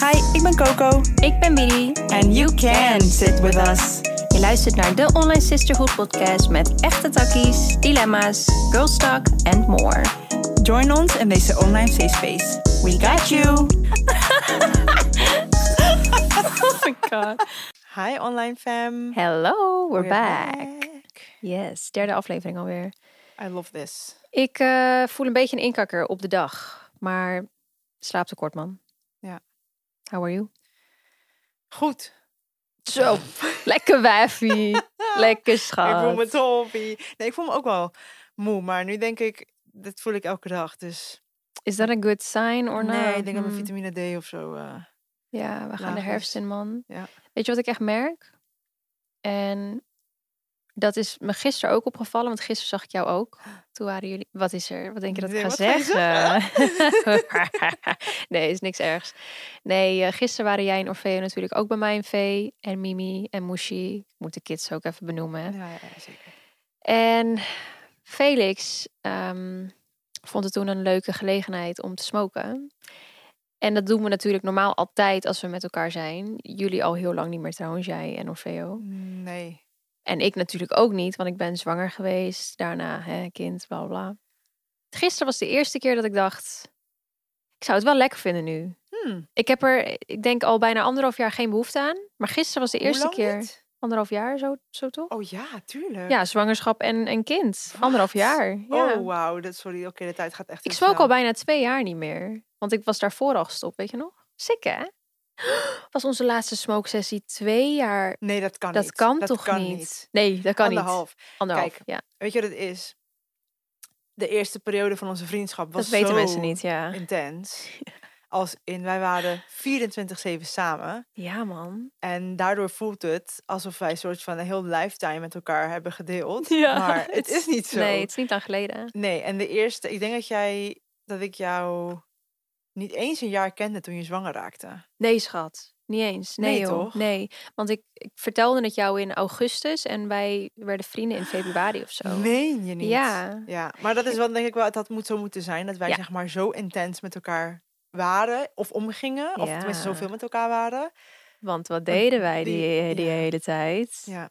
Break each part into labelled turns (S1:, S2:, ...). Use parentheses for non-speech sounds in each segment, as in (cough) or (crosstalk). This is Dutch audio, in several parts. S1: Hi, ik ben Coco.
S2: Ik ben Bidi.
S1: And you can sit with us.
S2: Je luistert naar de Online Sisterhood podcast met echte takkies, dilemma's, girl talk and more.
S1: Join ons in deze online safe space. We got you.
S2: Oh my god.
S1: Hi online fam.
S2: (laughs) Hello,
S1: We're
S2: we're, back. Yes, derde aflevering alweer.
S1: I love this.
S2: Ik eh, voel een beetje een inkakker op de dag, maar slaaptekort man.
S1: Ja.
S2: How are you?
S1: Goed.
S2: Zo. Lekker wijfie.
S1: (laughs)
S2: Lekker schat.
S1: Ik voel me toppie. Nee, ik voel me ook wel moe, maar nu denk ik, dat voel ik elke dag. Dus
S2: Is dat een good sign or not?
S1: nee, ik denk dat mijn
S2: Hmm.
S1: vitamine D of zo. eh,
S2: Ja, we gaan de
S1: laag is.
S2: herfst in, man.
S1: Ja.
S2: Weet je wat ik echt merk? En dat is me gisteren ook opgevallen, want gisteren zag ik jou ook. Toen waren jullie... Wat is er? Wat denk je dat ik
S1: Nee,
S2: ga
S1: wat ga je
S2: zeggen? (laughs) nee, is niks ergs. Nee, eh, gisteren waren jij en Orfeo natuurlijk ook bij mij en Vee. En Mimi en Mushi. Ik moet de kids ook even benoemen. hè.
S1: ja, ja, ja, zeker.
S2: En Felix ehm, vond het toen een leuke gelegenheid om te smoken. En dat doen we natuurlijk normaal altijd als we met elkaar zijn. Jullie al heel lang niet meer trouwens, jij en Orfeo.
S1: Nee.
S2: En ik natuurlijk ook niet, want ik ben zwanger geweest. Daarna, hè, kind, bla bla, bla. Gisteren was de eerste keer dat ik dacht... Ik zou het wel lekker vinden nu.
S1: Hmm,
S2: Ik heb er, ik denk, al bijna anderhalf jaar geen behoefte aan. Maar gisteren was de
S1: hoe
S2: eerste
S1: lang
S2: keer.
S1: niet?
S2: Anderhalf jaar, zo, zo toch?
S1: Oh ja, tuurlijk.
S2: Ja, zwangerschap en, en kind. Anderhalf
S1: Wat?
S2: jaar. Ja.
S1: Oh wauw, dat- sorry. Oké, de tijd gaat echt
S2: ik
S1: heel
S2: smoke al
S1: snel.
S2: bijna twee jaar niet meer. Want ik was daarvoor al gestopt, weet je nog? Sick, hè? (gasps) Was onze laatste smoke sessie twee jaar...
S1: Nee, dat kan
S2: Dat
S1: niet.
S2: kan toch niet? Nee, dat kan niet.
S1: Anderhalf.
S2: Anderhalf,
S1: Kijk,
S2: ja.
S1: Weet je wat het is? De eerste periode van onze vriendschap was
S2: Dat weten
S1: zo
S2: mensen niet, (laughs) ja.
S1: intens. Als in, wij waren 24-7 samen.
S2: Ja, man.
S1: En daardoor voelt het alsof wij een soort van een heel lifetime met elkaar hebben gedeeld.
S2: (laughs) Ja,
S1: maar
S2: het
S1: het is niet zo.
S2: Nee, het is niet lang geleden.
S1: Nee, en de eerste, ik denk dat jij, dat ik jou niet eens een jaar kende toen je zwanger raakte.
S2: Nee, schat. Niet eens. Nee,
S1: Nee,
S2: joh.
S1: toch?
S2: Nee. Want ik, ik vertelde het jou in augustus en wij werden vrienden in februari of zo.
S1: Meen je niet?
S2: Ja.
S1: Ja, maar dat is wel denk ik wel, dat moet zo moeten zijn. Dat wij
S2: Ja.
S1: zeg maar zo intens met elkaar waren of omgingen. Of tenminste
S2: Ja.
S1: zoveel met elkaar waren.
S2: Want wat deden wij
S1: die-
S2: die, die
S1: ja.
S2: hele tijd?
S1: Ja.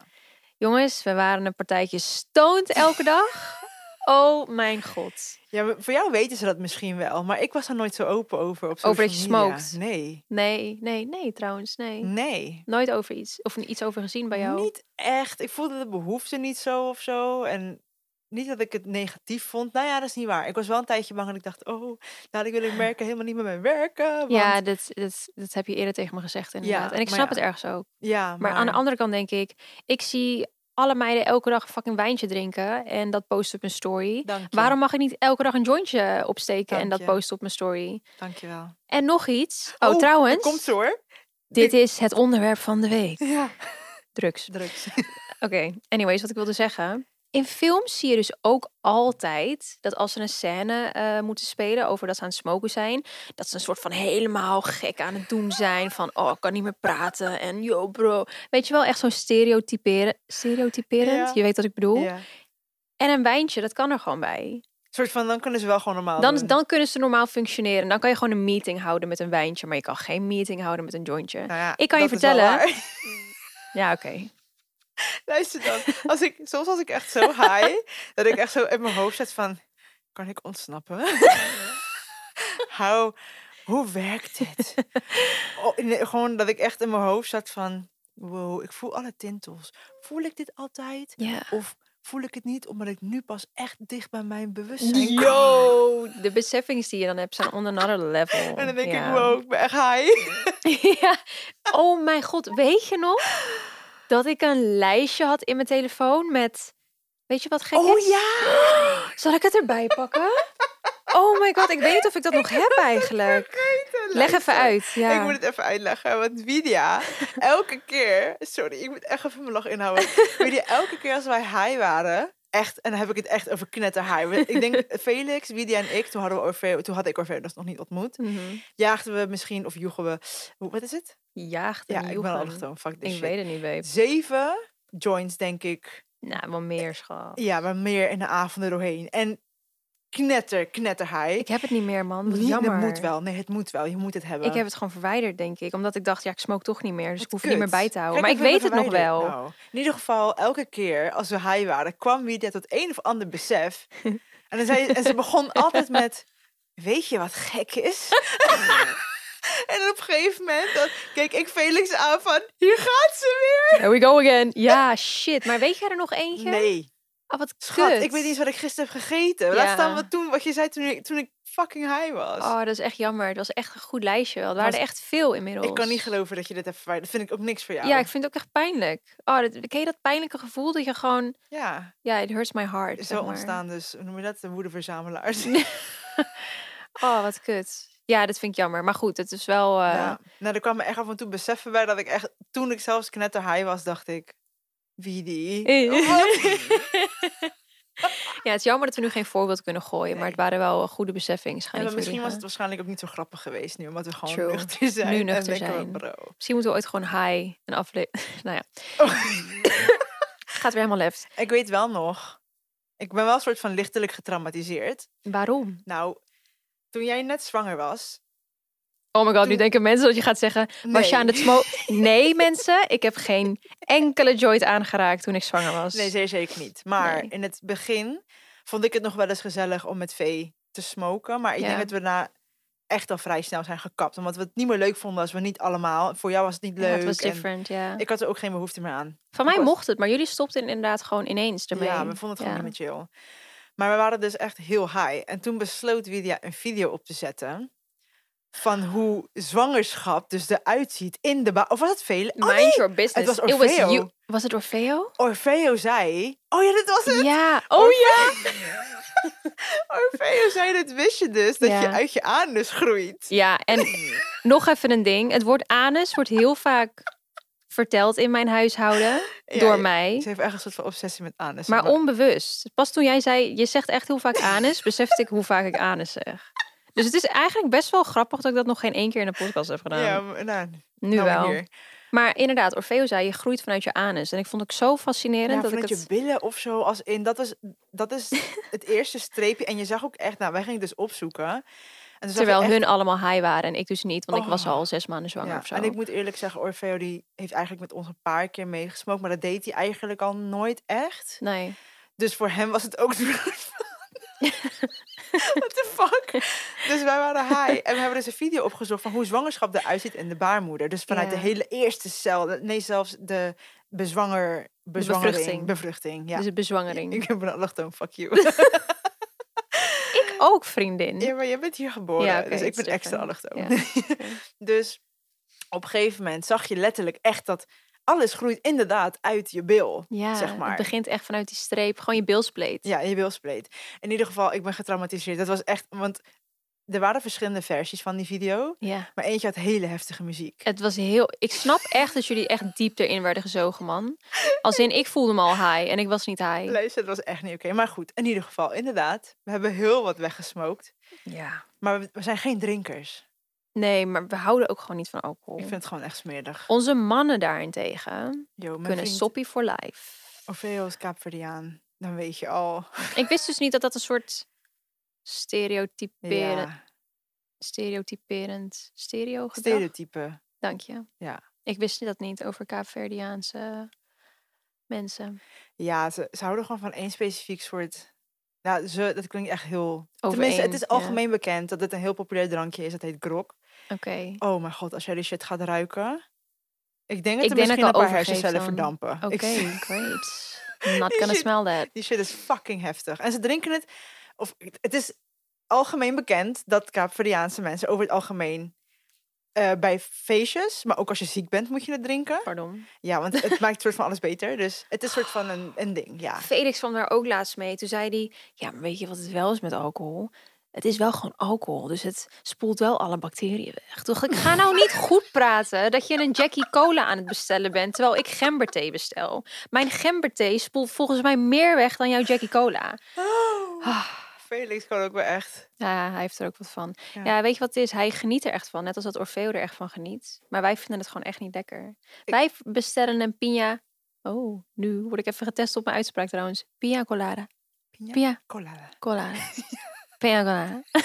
S2: Jongens, we waren een partijtje stoned elke dag.
S1: (laughs)
S2: Oh mijn god.
S1: ja, maar voor jou weten ze dat misschien wel. Maar ik was daar nooit zo open over op
S2: Over dat
S1: social
S2: je
S1: media.
S2: smoked?
S1: Nee,
S2: Nee, nee, nee trouwens, nee.
S1: nee.
S2: Nooit over iets, of iets over gezien bij jou.
S1: Niet echt. Ik voelde de behoefte niet zo of zo. En niet dat ik het negatief vond. Nou ja, dat is niet waar. Ik was wel een tijdje bang en ik dacht, oh, dadelijk wil ik merken helemaal niet met mijn werken. Want...
S2: ja, dat, dat, dat heb je eerder tegen me gezegd inderdaad. en ik
S1: maar
S2: snap
S1: ja.
S2: het ergens ook.
S1: ja, maar,
S2: Maar, aan de andere kant denk ik, ik zie alle meiden elke dag een fucking wijntje drinken en dat posten op mijn story.
S1: Dank je.
S2: Waarom mag ik niet elke dag een jointje opsteken en
S1: Dank
S2: dat
S1: je.
S2: posten op mijn story?
S1: Dank je wel.
S2: En nog iets. Oh,
S1: er
S2: trouwens,
S1: Komt ze hoor.
S2: dit is het onderwerp van de week.
S1: Ja.
S2: Drugs.
S1: Drugs.
S2: Oké, anyways, wat ik wilde zeggen. In films zie je dus ook altijd dat als ze een scène eh, moeten spelen over dat ze aan het smoken zijn, dat ze een soort van helemaal gek aan het doen zijn. Van oh, ik kan niet meer praten en yo bro. Weet je wel, echt zo stereotyperen, stereotyperend.
S1: Ja.
S2: Je weet wat ik bedoel.
S1: Ja.
S2: En een wijntje, dat kan er gewoon bij.
S1: soort van, dan kunnen ze wel gewoon normaal
S2: Dan,
S1: doen.
S2: dan kunnen ze normaal functioneren. Dan kan je gewoon een meeting houden met een wijntje, maar je kan geen meeting houden met een jointje.
S1: Nou ja,
S2: Ik kan je
S1: dat is wel
S2: vertellen-
S1: waar. (laughs)
S2: Ja, oké.
S1: Luister dan. Als ik, soms was ik echt zo
S2: (laughs)
S1: high, dat ik echt zo in mijn hoofd zat van, kan ik ontsnappen?
S2: (laughs)
S1: How, hoe werkt dit? Oh, nee, gewoon dat ik echt in mijn hoofd zat van, wow, ik voel alle tintels. Voel ik dit altijd?
S2: Ja.
S1: Of voel ik het niet omdat ik nu pas echt dicht bij mijn bewustzijn kom?
S2: Yo, de beseffings die je dan hebt zijn on another level.
S1: En dan denk
S2: Ja.
S1: ik, wow, ik ben echt high.
S2: (laughs) ja. Oh mijn god, weet je nog dat ik een lijstje had in mijn telefoon met, weet je wat gek
S1: Oh
S2: is?
S1: ja!
S2: Zal ik het erbij pakken? Oh my god, ik weet niet of ik dat nog
S1: (laughs)
S2: heb eigenlijk. Leg
S1: Luister.
S2: even uit. Ja.
S1: Ik moet het even uitleggen, want
S2: (laughs)
S1: Widia, elke keer... Sorry, ik moet echt even mijn lach inhouden. Widia, elke keer als wij high waren... Echt, en dan heb ik het echt over knetterhigh. We- Ik denk,
S2: (laughs)
S1: Felix, Widia en ik, toen, hadden we Orfeo, toen had ik Orfeo dus nog niet ontmoet.
S2: Mhm.
S1: Jaagden we misschien, of joegen we... hoe- Wat is het?
S2: Jaagt en
S1: Ja, ik ben
S2: joegen.
S1: allochtoon. Fuck this
S2: Ik
S1: shit.
S2: weet het niet, babe.
S1: Zeven joints, denk ik. Eh,
S2: Nou, wel meer, schat.
S1: Ja, maar meer in de avonden doorheen. En knetter, knetter high.
S2: Ik heb het niet meer, man. Wat
S1: Niet-
S2: jammer.
S1: Het moet wel. Nee, het moet wel. Je moet het hebben.
S2: Ik heb het gewoon verwijderd, denk ik. Omdat ik dacht, ja, ik smoke toch niet meer. Dus
S1: Wat
S2: ik hoef het niet meer
S1: kut.
S2: bij te houden.
S1: Kijk,
S2: maar ik
S1: we hebben
S2: weet het nog wel.
S1: verwijderd. Nou, in ieder geval, elke keer als we high waren, kwam Media tot een of ander
S2: (laughs)
S1: besef. en, dan zei, en ze begon altijd met, weet je wat gek
S2: (laughs)
S1: is? en dan op een gegeven moment dan keek ik Felix aan van, hier gaat ze
S2: Here we go again. Ja, shit. Maar weet jij er nog eentje?
S1: weer. Nee,
S2: Ah, wat
S1: schat,
S2: kut.
S1: ik weet niet eens wat ik gisteren heb gegeten. Laat
S2: Ja.
S1: staan wat, toen, wat je zei toen ik, toen ik fucking high was.
S2: Oh, dat is echt jammer. Het was echt een goed lijstje wel. Er waren
S1: Was-
S2: er echt veel inmiddels.
S1: ik kan niet geloven dat je dit hebt verwijderd. Dat vind ik ook niks voor jou.
S2: Ja, ik vind het ook echt pijnlijk. Oh, dat, ken je dat pijnlijke gevoel dat je gewoon...
S1: ja
S2: Ja, it hurts my heart,
S1: zo
S2: zeg maar.
S1: ontstaan dus, hoe noem je dat? De
S2: (laughs)
S1: woedeverzamelaars.
S2: Oh, wat kut. Ja, dat vind ik jammer. Maar goed, het is wel... eh,
S1: Ja. Nou, er kwam me echt af en toe beseffen bij dat ik echt... Toen ik zelfs knetterhigh was, dacht ik... Wie die? Oh,
S2: Eh. (laughs)
S1: Wat?
S2: ja, het is jammer dat we nu geen voorbeeld kunnen gooien. Maar
S1: Nee.
S2: het waren wel eh, goede beseffingen.
S1: En
S2: schijn
S1: dan
S2: ik
S1: misschien
S2: voor
S1: was
S2: jullie,
S1: het
S2: hè.
S1: waarschijnlijk ook niet zo grappig geweest nu. Omdat we gewoon
S2: True.
S1: nuchter zijn.
S2: Nu
S1: en
S2: nuchter
S1: denken we,
S2: zijn.
S1: Bro. (laughs)
S2: Misschien moeten we ooit gewoon high een aflevering... nou ja, (laughs) gaat weer helemaal left.
S1: ik weet wel nog... Ik ben wel een soort van lichtelijk getraumatiseerd.
S2: Waarom?
S1: Nou, toen jij net zwanger was...
S2: Oh my god, nu
S1: Toen-
S2: denken mensen dat je gaat zeggen... Was je
S1: Nee.
S2: aan het smoken? Nee, mensen. Ik heb geen enkele joint aangeraakt toen ik zwanger was.
S1: Nee, zeer zeker niet. Maar
S2: Nee.
S1: in het begin vond ik het nog wel eens gezellig om met vee te smoken. Maar ik
S2: Ja.
S1: denk dat we na echt al vrij snel zijn gekapt. Omdat we het niet meer leuk vonden als we niet allemaal... Voor jou was het niet
S2: Ja,
S1: leuk.
S2: het was
S1: en
S2: different, ja.
S1: Ik had er ook geen behoefte meer aan.
S2: Van mij
S1: was-
S2: mocht het, maar jullie stopten inderdaad gewoon ineens ermee.
S1: Ja, we vonden het gewoon
S2: Ja.
S1: niet meer chill. Maar we waren dus echt heel high. En toen besloot Widia een video op te zetten... van hoe zwangerschap dus eruit ziet in de baan. Of was het vele? Oh,
S2: Mind
S1: nee!
S2: your business.
S1: was
S2: It
S1: Orfeo.
S2: you- was het Orfeo?
S1: Orfeo zei... Oh ja, dit was het!
S2: Ja. Oh ja.
S1: (laughs) Orfeo zei, dit wist je dus, dat je
S2: Ja.
S1: uit je anus groeit.
S2: Ja,
S1: (laughs)
S2: en nog even een ding. Het woord anus wordt heel vaak verteld in mijn huishouden
S1: Ja, ja.
S2: door mij.
S1: Ze heeft echt een soort van obsessie met anus.
S2: Maar onbewust. Pas toen jij zei, je zegt echt heel vaak anus, besefte ik hoe vaak ik anus zeg. Dus het is eigenlijk best wel grappig dat ik dat nog geen één keer in de podcast heb gedaan.
S1: Ja, maar- nou,
S2: nu
S1: nou
S2: wel.
S1: hier.
S2: Maar inderdaad, Orfeo zei, je groeit vanuit je anus. En ik vond het zo fascinerend
S1: Ja,
S2: dat ik
S1: vanuit
S2: het...
S1: je billen of zo, als in, dat is, dat
S2: (laughs)
S1: is het eerste streepje. En je zag ook echt, nou, wij gingen het dus opzoeken. En toen zag je
S2: Terwijl
S1: echt-
S2: hun allemaal high waren en ik dus niet, want ik was
S1: Oh.
S2: al zes maanden zwanger
S1: Ja,
S2: of zo.
S1: En ik moet eerlijk zeggen, Orfeo die heeft eigenlijk met ons een paar keer meegesmokt, maar dat deed hij eigenlijk al nooit echt.
S2: Nee.
S1: Dus voor hem was het ook (laughs) zo van, What (laughs) the fuck? Dus wij waren high. En we hebben dus een video opgezocht van hoe zwangerschap eruit ziet in de baarmoeder. Dus vanuit de
S2: Ja.
S1: hele eerste cel. Nee, zelfs de bezwanger, bezwangering,
S2: bevruchting.
S1: bevruchting. ja.
S2: Dus de bezwangering.
S1: Ik heb een allochtoon, fuck
S2: (laughs)
S1: you.
S2: Ik ook, vriendin.
S1: ja, maar jij bent hier geboren,
S2: Ja, oké,
S1: dus ik
S2: it's
S1: ben extra
S2: different.
S1: allochtoon. (laughs) Dus op een gegeven moment zag je letterlijk echt dat alles groeit inderdaad uit je bil.
S2: Ja,
S1: zeg maar.
S2: het begint echt vanuit die streep, gewoon je bilspleet.
S1: Ja, je bilspleet. In ieder geval, ik ben getraumatiseerd. Dat was echt, want er waren verschillende versies van die video,
S2: Ja.
S1: maar eentje had hele heftige muziek.
S2: Het was heel... Ik snap echt dat jullie echt diep erin werden gezogen, man. Als in, ik voelde me al high en ik was niet high.
S1: Luister, dat was echt niet oké. Maar goed, in ieder geval, inderdaad, we hebben heel wat weggesmookt,
S2: Ja.
S1: maar we, we zijn geen drinkers.
S2: Nee, maar we houden ook gewoon niet van alcohol.
S1: Ik vind het gewoon echt smerig.
S2: Onze mannen daarentegen
S1: Yo, mijn
S2: kunnen
S1: vriend
S2: soppie for life.
S1: Orfeo is Kaapverdiaan. Dan weet je al.
S2: Ik wist dus niet dat dat een soort stereotyperend,
S1: Ja,
S2: stereotyperend, stereo gedrag.
S1: stereotype.
S2: Dank je.
S1: Ja.
S2: Ik wist dat niet over Kaapverdiaanse mensen.
S1: Ja, ze, ze houden gewoon van één specifiek soort. Nou, ze, dat klinkt echt heel.
S2: Over
S1: Tenminste,
S2: één,
S1: het is algemeen bekend dat het een heel populair drankje is. Dat heet grok.
S2: ja. Oké.
S1: Oh mijn god, als jij die shit gaat ruiken. Ik denk dat
S2: Ik
S1: er
S2: denk dat ik
S1: misschien
S2: al
S1: een paar
S2: overgeef
S1: hersencellen
S2: dan.
S1: verdampen.
S2: Oké,
S1: Ik-
S2: great. Not
S1: Die (laughs)
S2: gonna
S1: shit-
S2: smell that.
S1: die shit is fucking heftig. En ze drinken het... Of, het is algemeen bekend dat Kaapverdiaanse mensen over het algemeen... eh, bij feestjes, maar ook als je ziek bent, moet je het drinken.
S2: Pardon.
S1: Ja, want
S2: (laughs)
S1: het maakt soort van alles beter. Dus het is soort van een, een ding, ja.
S2: Ah, Felix kwam daar ook laatst mee. Toen zei hij, ja, maar weet je wat het wel is met alcohol? Het is wel gewoon alcohol, dus het spoelt wel alle bacteriën weg. Toen dacht ik, ga nou niet goed praten dat je een Jackie Cola aan het bestellen bent, terwijl ik gemberthee bestel. Mijn gemberthee spoelt volgens mij meer weg dan jouw Jackie Cola. Oh.
S1: Ah, Felix gewoon ook wel echt...
S2: Ja, hij heeft er ook wat van. Ja.
S1: Ja.
S2: weet je wat het is? Hij geniet er echt van, net als dat Orfeo er echt van geniet. Maar wij vinden het gewoon echt niet lekker. Wij bestellen een pina... Oh, nu word ik even getest op mijn uitspraak trouwens. Pina colada.
S1: Pina
S2: Pina (laughs)
S1: colada.
S2: colada. Pina colada. (laughs)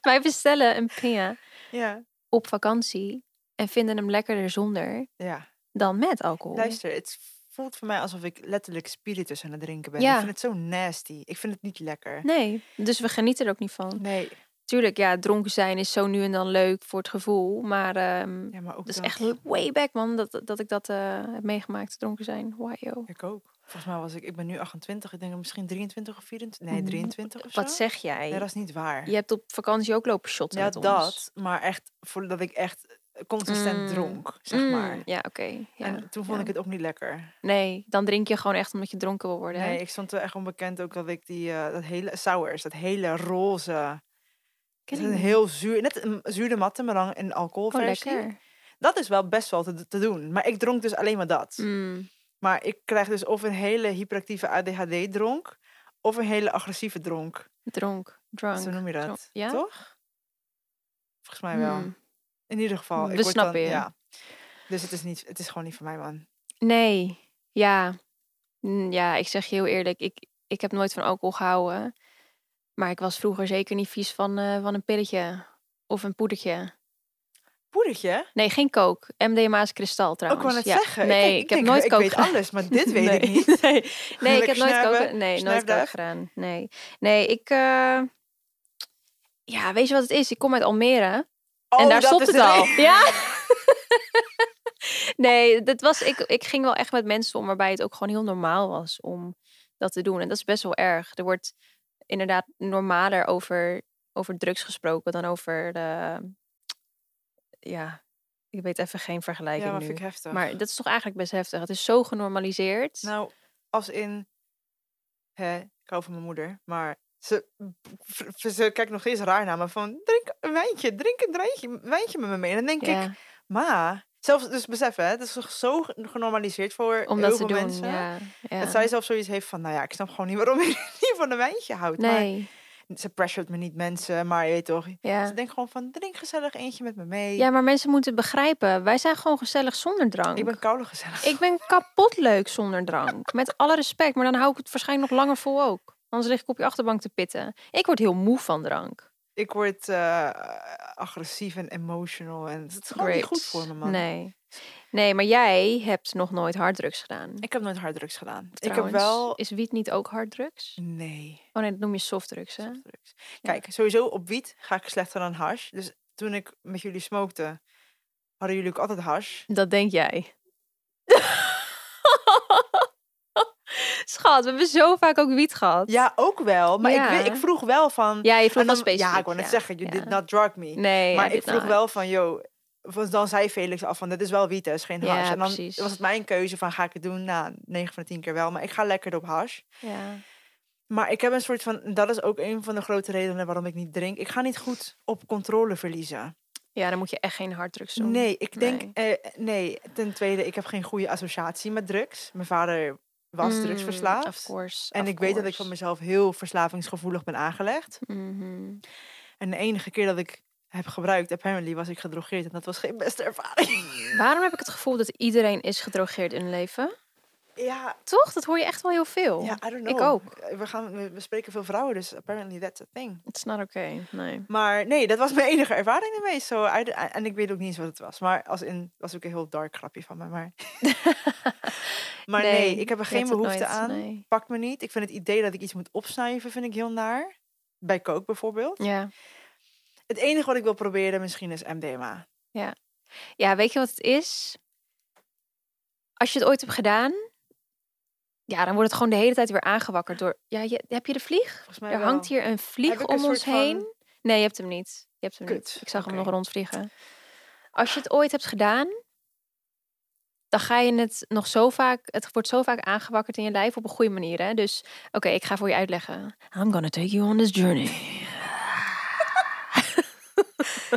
S2: Wij bestellen een pina
S1: Ja.
S2: op vakantie en vinden hem lekkerder zonder
S1: ja.
S2: dan met alcohol.
S1: Luister, het voelt voor mij alsof ik letterlijk spiritus aan het drinken ben.
S2: Ja.
S1: Ik vind het zo nasty. Ik vind het niet lekker.
S2: Nee, dus we genieten er ook niet van.
S1: Nee.
S2: Tuurlijk, ja, dronken zijn is zo nu en dan leuk voor het gevoel, maar ehm,
S1: Ja, maar ook
S2: dat is
S1: dat.
S2: echt way back man dat, dat ik dat eh, heb meegemaakt, dronken zijn. Wow, yo.
S1: Ik ook. Volgens mij was ik... Ik ben nu 28. Ik denk dat misschien 23 of 24. Nee,
S2: Mm,
S1: 23 of zo.
S2: Wat zeg jij?
S1: Nee, dat is niet waar.
S2: Je hebt op vakantie ook lopen shotten
S1: ja,
S2: met ons.
S1: dat. Maar echt voordat ik echt consistent
S2: Mm.
S1: dronk, zeg
S2: Mm,
S1: maar.
S2: Ja, oké. ja.
S1: en toen vond
S2: ja.
S1: ik het ook niet lekker.
S2: Nee, dan drink je gewoon echt omdat je dronken wil worden. hè?
S1: Nee, ik stond er echt onbekend ook dat ik die eh, dat hele sours, dat hele roze,
S2: Ken
S1: dat is
S2: ik
S1: een
S2: niet.
S1: heel zuur, net een zuurde matte, maar dan in
S2: Oh,
S1: alcoholversie.
S2: lekker.
S1: dat is wel best wel te, te doen. Maar ik dronk dus alleen maar dat.
S2: Mm.
S1: Maar ik krijg dus of een hele hyperactieve ADHD dronk, of een hele agressieve dronk.
S2: Dronk. Drunk.
S1: Zo noem je
S2: dronk.
S1: dat,
S2: Ja?
S1: toch? Volgens mij wel.
S2: Mm.
S1: In ieder geval.
S2: We
S1: word
S2: snappen
S1: dan-
S2: je.
S1: Ja. Dus het is, niet, het is gewoon niet voor mij, man.
S2: Nee, ja. Mm, Ja, ik zeg je heel eerlijk, ik, ik heb nooit van alcohol gehouden. Maar ik was vroeger zeker niet vies van, eh, van een pilletje of een poedertje.
S1: Poedertje?
S2: Nee, geen kook. MDMA is kristal
S1: Ook
S2: trouwens.
S1: wel het
S2: ja.
S1: zeggen.
S2: Nee,
S1: denk-
S2: ik, heb
S1: denk,
S2: nooit
S1: ik
S2: kook
S1: weet
S2: gedaan. (laughs)
S1: alles, maar dit weet
S2: nee,
S1: ik niet.
S2: Nee, nee ik
S1: Lekker
S2: heb nooit
S1: snerven,
S2: koken. Nee, nooit
S1: snerfduif.
S2: koken gedaan. Nee, nee ik. eh, Ja, weet je wat het is? Ik kom uit Almere en
S1: Oh,
S2: daar
S1: dat
S2: stopt
S1: is
S2: het
S1: de
S2: al.
S1: reden.
S2: (laughs) Ja. nee, dat was, ik, ik ging wel echt met mensen om waarbij het ook gewoon heel normaal was om dat te doen. En dat is best wel erg. Er wordt inderdaad normaler over, over drugs gesproken dan over de. Ja, ik weet even geen vergelijking.
S1: Ja, maar
S2: nu.
S1: vind ik heftig.
S2: Maar dat is toch eigenlijk best heftig. Het is zo genormaliseerd.
S1: Nou, als in... Hè, ik hou van mijn moeder, maar... Ze, v- v- ze kijkt nog eens raar naar me van... Drink een wijntje, drink een wijntje, een wijntje met me mee. En dan denk
S2: ja,
S1: ik, ma... Zelfs, dus besef hè, het is toch zo genormaliseerd voor
S2: om
S1: heel
S2: dat te
S1: veel
S2: doen.
S1: mensen.
S2: Ja, ja.
S1: Dat zij zelf zoiets heeft van, nou ja, ik snap gewoon niet waarom (laughs) je niet van een wijntje houdt.
S2: nee,
S1: Maar ze pressured me niet mensen, maar je weet toch... Ze
S2: ja.
S1: denkt gewoon van, drink gezellig eentje met me mee.
S2: ja, maar mensen moeten begrijpen. Wij zijn gewoon gezellig zonder drank.
S1: Ik ben koude gezellig.
S2: Ik ben kapot leuk zonder drank. Met alle respect, maar dan hou ik het waarschijnlijk nog langer vol ook. Anders lig ik op je achterbank te pitten. Ik word heel moe van drank.
S1: (laughs) Ik word eh, agressief en emotional. En het is gewoon niet goed
S2: Grapes.
S1: voor me, man.
S2: Nee. Nee, maar jij hebt nog nooit harddrugs gedaan.
S1: Ik heb nooit harddrugs gedaan.
S2: Trouwens,
S1: Ik heb wel...
S2: Is wiet niet ook harddrugs?
S1: Nee.
S2: Oh nee, dat noem je softdrugs, hè?
S1: softdrugs. Kijk, sowieso op wiet ga ik slechter dan hash. Dus toen ik met jullie smokte, hadden jullie ook altijd hash.
S2: Dat denk jij. (laughs) Schat, we hebben zo vaak ook wiet gehad.
S1: Ja, ook wel. Maar
S2: Ja.
S1: ik, weet- ik vroeg wel van...
S2: Ja, je vroeg
S1: en
S2: wel
S1: dan-
S2: specifiek.
S1: Ja, ik wou net zeggen, you
S2: ja.
S1: did not drug me.
S2: Nee, nou.
S1: maar
S2: I
S1: ik
S2: did
S1: vroeg
S2: not.
S1: wel van, yo... want Dan zei Felix al van, dit is wel wiet, hè, is geen
S2: Ja,
S1: hash. en dan
S2: precies.
S1: was het mijn keuze van, ga ik het doen? Nou, 9 van de 10 keer wel. Maar ik ga lekker op hash.
S2: Ja.
S1: Maar ik heb een soort van, dat is ook een van de grote redenen waarom ik niet drink. Ik ga niet goed op controle verliezen.
S2: ja, dan moet je echt geen harddrugs doen.
S1: Nee, ik denk,
S2: Nee.
S1: nee. nee, ten tweede, ik heb geen goede associatie met drugs. Mijn vader was
S2: Mm,
S1: drugsverslaafd.
S2: Of course.
S1: En
S2: of
S1: ik weet dat ik van
S2: course.
S1: mezelf heel verslavingsgevoelig ben aangelegd.
S2: Mhm.
S1: En de enige keer dat ik heb gebruikt, apparently, was ik gedrogeerd. En dat was geen beste ervaring.
S2: Waarom heb ik het gevoel dat iedereen is gedrogeerd in hun leven?
S1: ja,
S2: Toch? Dat hoor je echt wel heel veel.
S1: ja, I don't know.
S2: ik ook.
S1: We, gaan, we, we spreken veel vrouwen, dus apparently that's a thing.
S2: Het is not oké. Nee.
S1: Maar nee, dat was mijn enige ervaring ermee. zo uit- en ik weet ook niet eens wat het was. Maar als in, was ook een heel dark grapje van mij.
S2: (laughs)
S1: Maar, maar nee, ik heb er
S2: je
S1: geen
S2: hebt het
S1: behoefte
S2: nooit,
S1: aan.
S2: nee.
S1: Pakt me niet. Ik vind het idee dat ik iets moet opsnuiven, vind ik heel naar. Bij kook bijvoorbeeld.
S2: Ja.
S1: Het enige wat ik wil proberen misschien is MDMA.
S2: ja, weet je wat het is? Als je het ooit hebt gedaan, ja, dan wordt het gewoon de hele tijd weer aangewakkerd door. Ja, je, heb je de vlieg?
S1: Volgens mij
S2: Er
S1: wel.
S2: hangt hier een
S1: Heb
S2: vlieg
S1: ik een
S2: om ons
S1: soort
S2: heen.
S1: van-
S2: Nee, je hebt hem niet. Je hebt hem niet.
S1: Kut,
S2: Ik zag
S1: oké.
S2: hem nog rondvliegen. Als je het ooit hebt gedaan, dan ga je het nog zo vaak. Het wordt zo vaak aangewakkerd in je lijf op een goede manier. Hè? Dus oké, ik ga voor je uitleggen. I'm gonna take you on this journey.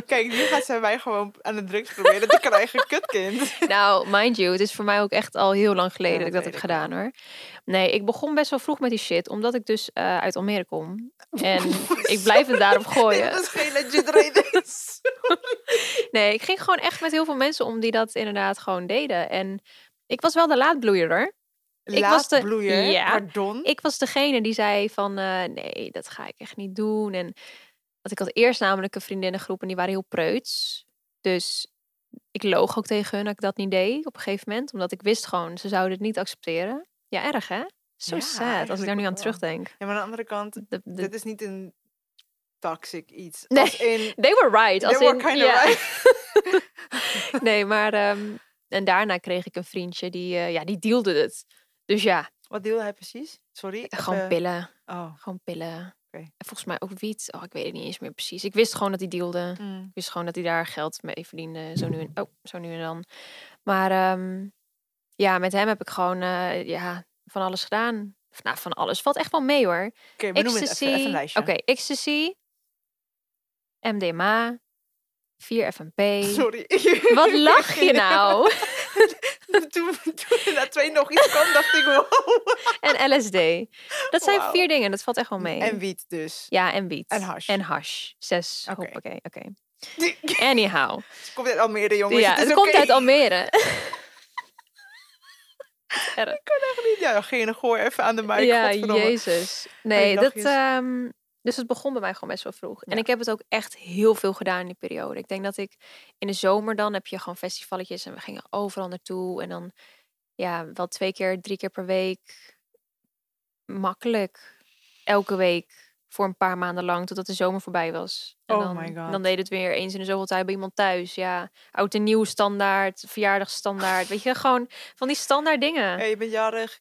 S1: Kijk, nu gaat zij mij gewoon aan de drugs proberen te
S2: (laughs)
S1: krijgen. Kutkind.
S2: (laughs) nou, mind you, het is voor mij ook echt al heel lang geleden
S1: Ja,
S2: dat ik
S1: dat
S2: dat
S1: weet
S2: heb
S1: ik
S2: gedaan hoor. Nee, ik begon best wel vroeg met die shit, omdat ik dus eh, uit Almere kom. En (laughs) ik blijf het daarop gooien.
S1: Dat is geen legit
S2: (laughs)
S1: reden.
S2: Nee, ik ging gewoon echt met heel veel mensen om die dat inderdaad gewoon deden. En ik was wel de laadbloeier hoor. Ik was de-
S1: bloeier,
S2: ja.
S1: pardon.
S2: Ik was degene die zei van eh, nee, dat ga ik echt niet doen. En want ik had eerst namelijk een vriendinnengroep en die waren heel preuts. Dus ik loog ook tegen hun dat ik dat niet deed op een gegeven moment. Omdat ik wist gewoon, ze zouden het niet accepteren. Ja, erg hè? Zo
S1: Ja,
S2: sad als ik daar
S1: eigenlijk
S2: nu aan
S1: wel.
S2: terugdenk.
S1: Ja, maar aan de andere kant,
S2: De- de-
S1: dit is niet een toxic iets.
S2: Nee.
S1: Als in,
S2: They were right. (laughs) Als
S1: They were
S2: in-
S1: kinda
S2: ja. (laughs) nee, maar... ehm, en daarna kreeg ik een vriendje die, eh, ja, die dealde het. Dus ja,
S1: wat deel hij precies? Sorry.
S2: Eh, gewoon
S1: even-
S2: pillen.
S1: Oh.
S2: Gewoon pillen.
S1: Oké.
S2: En volgens mij ook wiet. Oh, ik weet het niet eens meer precies. Ik wist gewoon dat hij dealde.
S1: mm.
S2: Ik wist gewoon dat hij daar geld mee verdiende. Zo nu en, oh, zo nu en dan. Maar ehm, ja, met hem heb ik gewoon eh, ja, van alles gedaan. Of, nou, van alles. Valt echt wel mee hoor.
S1: Oké, we noemen het
S2: Ecstasy.
S1: even, even een lijstje.
S2: Oké, ecstasy. MDMA. 4FMP.
S1: (laughs) Sorry. (laughs)
S2: Wat lach je nou?
S1: toen, toen er na twee nog iets kwam, dacht ik wow.
S2: En LSD. Dat zijn
S1: Wauw.
S2: vier dingen, dat valt echt wel mee.
S1: En wiet dus.
S2: ja, en wiet.
S1: en hash.
S2: En hash. Zes.
S1: Oké.
S2: Hoppakee, oké.
S1: (laughs) Het
S2: Anyhow.
S1: komt uit Almere, jongens.
S2: ja,
S1: het
S2: het
S1: is
S2: komt
S1: oké.
S2: uit Almere. Erg.
S1: (laughs) Ja, dan ging je nog gooi even aan de mic.
S2: ja,
S1: godverdomme.
S2: jezus. Nee, dat...
S1: lachjes.
S2: ehm, dus het begon bij mij gewoon best wel vroeg. En
S1: Ja.
S2: ik heb het ook echt heel veel gedaan in die periode. Ik denk dat ik in de zomer dan heb je gewoon festivaletjes en we gingen overal naartoe. En dan ja, wel twee keer, drie keer per week. Makkelijk. Elke week voor een paar maanden lang, totdat de zomer voorbij was. En
S1: Oh
S2: dan,
S1: my God.
S2: dan deed het weer eens in de zoveel tijd bij iemand thuis. Ja, oud en nieuw standaard, verjaardagsstandaard. Weet je, gewoon van die standaard dingen
S1: Hey, je bent jarig.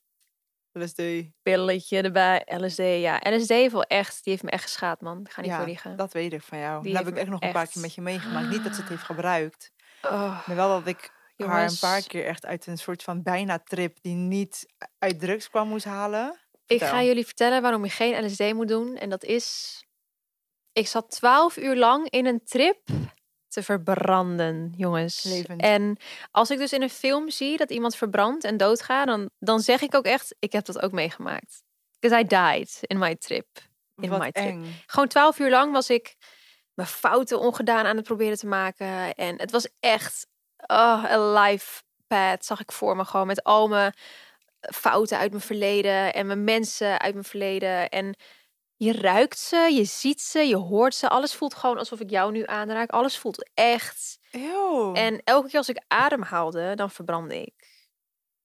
S1: LSD.
S2: pilletje erbij. LSD, ja. LSD heeft wel echt, die heeft me echt geschaad, man. Ik ga niet
S1: Ja,
S2: voor liegen.
S1: Dat weet ik van jou.
S2: Die
S1: Die heb
S2: heeft
S1: ik
S2: me
S1: echt nog een paar
S2: echt-
S1: keer met je meegemaakt. Niet dat ze het heeft gebruikt.
S2: Oh,
S1: Maar wel dat ik haar een
S2: jongens,
S1: paar keer echt uit een soort van bijna trip die niet uit drugs kwam moest halen.
S2: Ik
S1: vertel.
S2: ga jullie vertellen waarom je geen LSD moet doen. En dat is... Ik zat twaalf uur lang in een trip te verbranden, jongens.
S1: Levend.
S2: En als ik dus in een film zie dat iemand verbrandt en doodgaat... Dan, dan zeg ik ook echt, ik heb dat ook meegemaakt. Because I died in my trip. In
S1: Wat
S2: my trip.
S1: eng.
S2: Gewoon twaalf uur lang was ik mijn fouten ongedaan aan het proberen te maken. En het was echt oh, een life path zag ik voor me. Gewoon met al mijn fouten uit mijn verleden en mijn mensen uit mijn verleden. En je ruikt ze, je ziet ze, je hoort ze. Alles voelt gewoon alsof ik jou nu aanraak. Alles voelt echt.
S1: Eeuw.
S2: En elke keer als ik ademhaalde, dan verbrandde ik.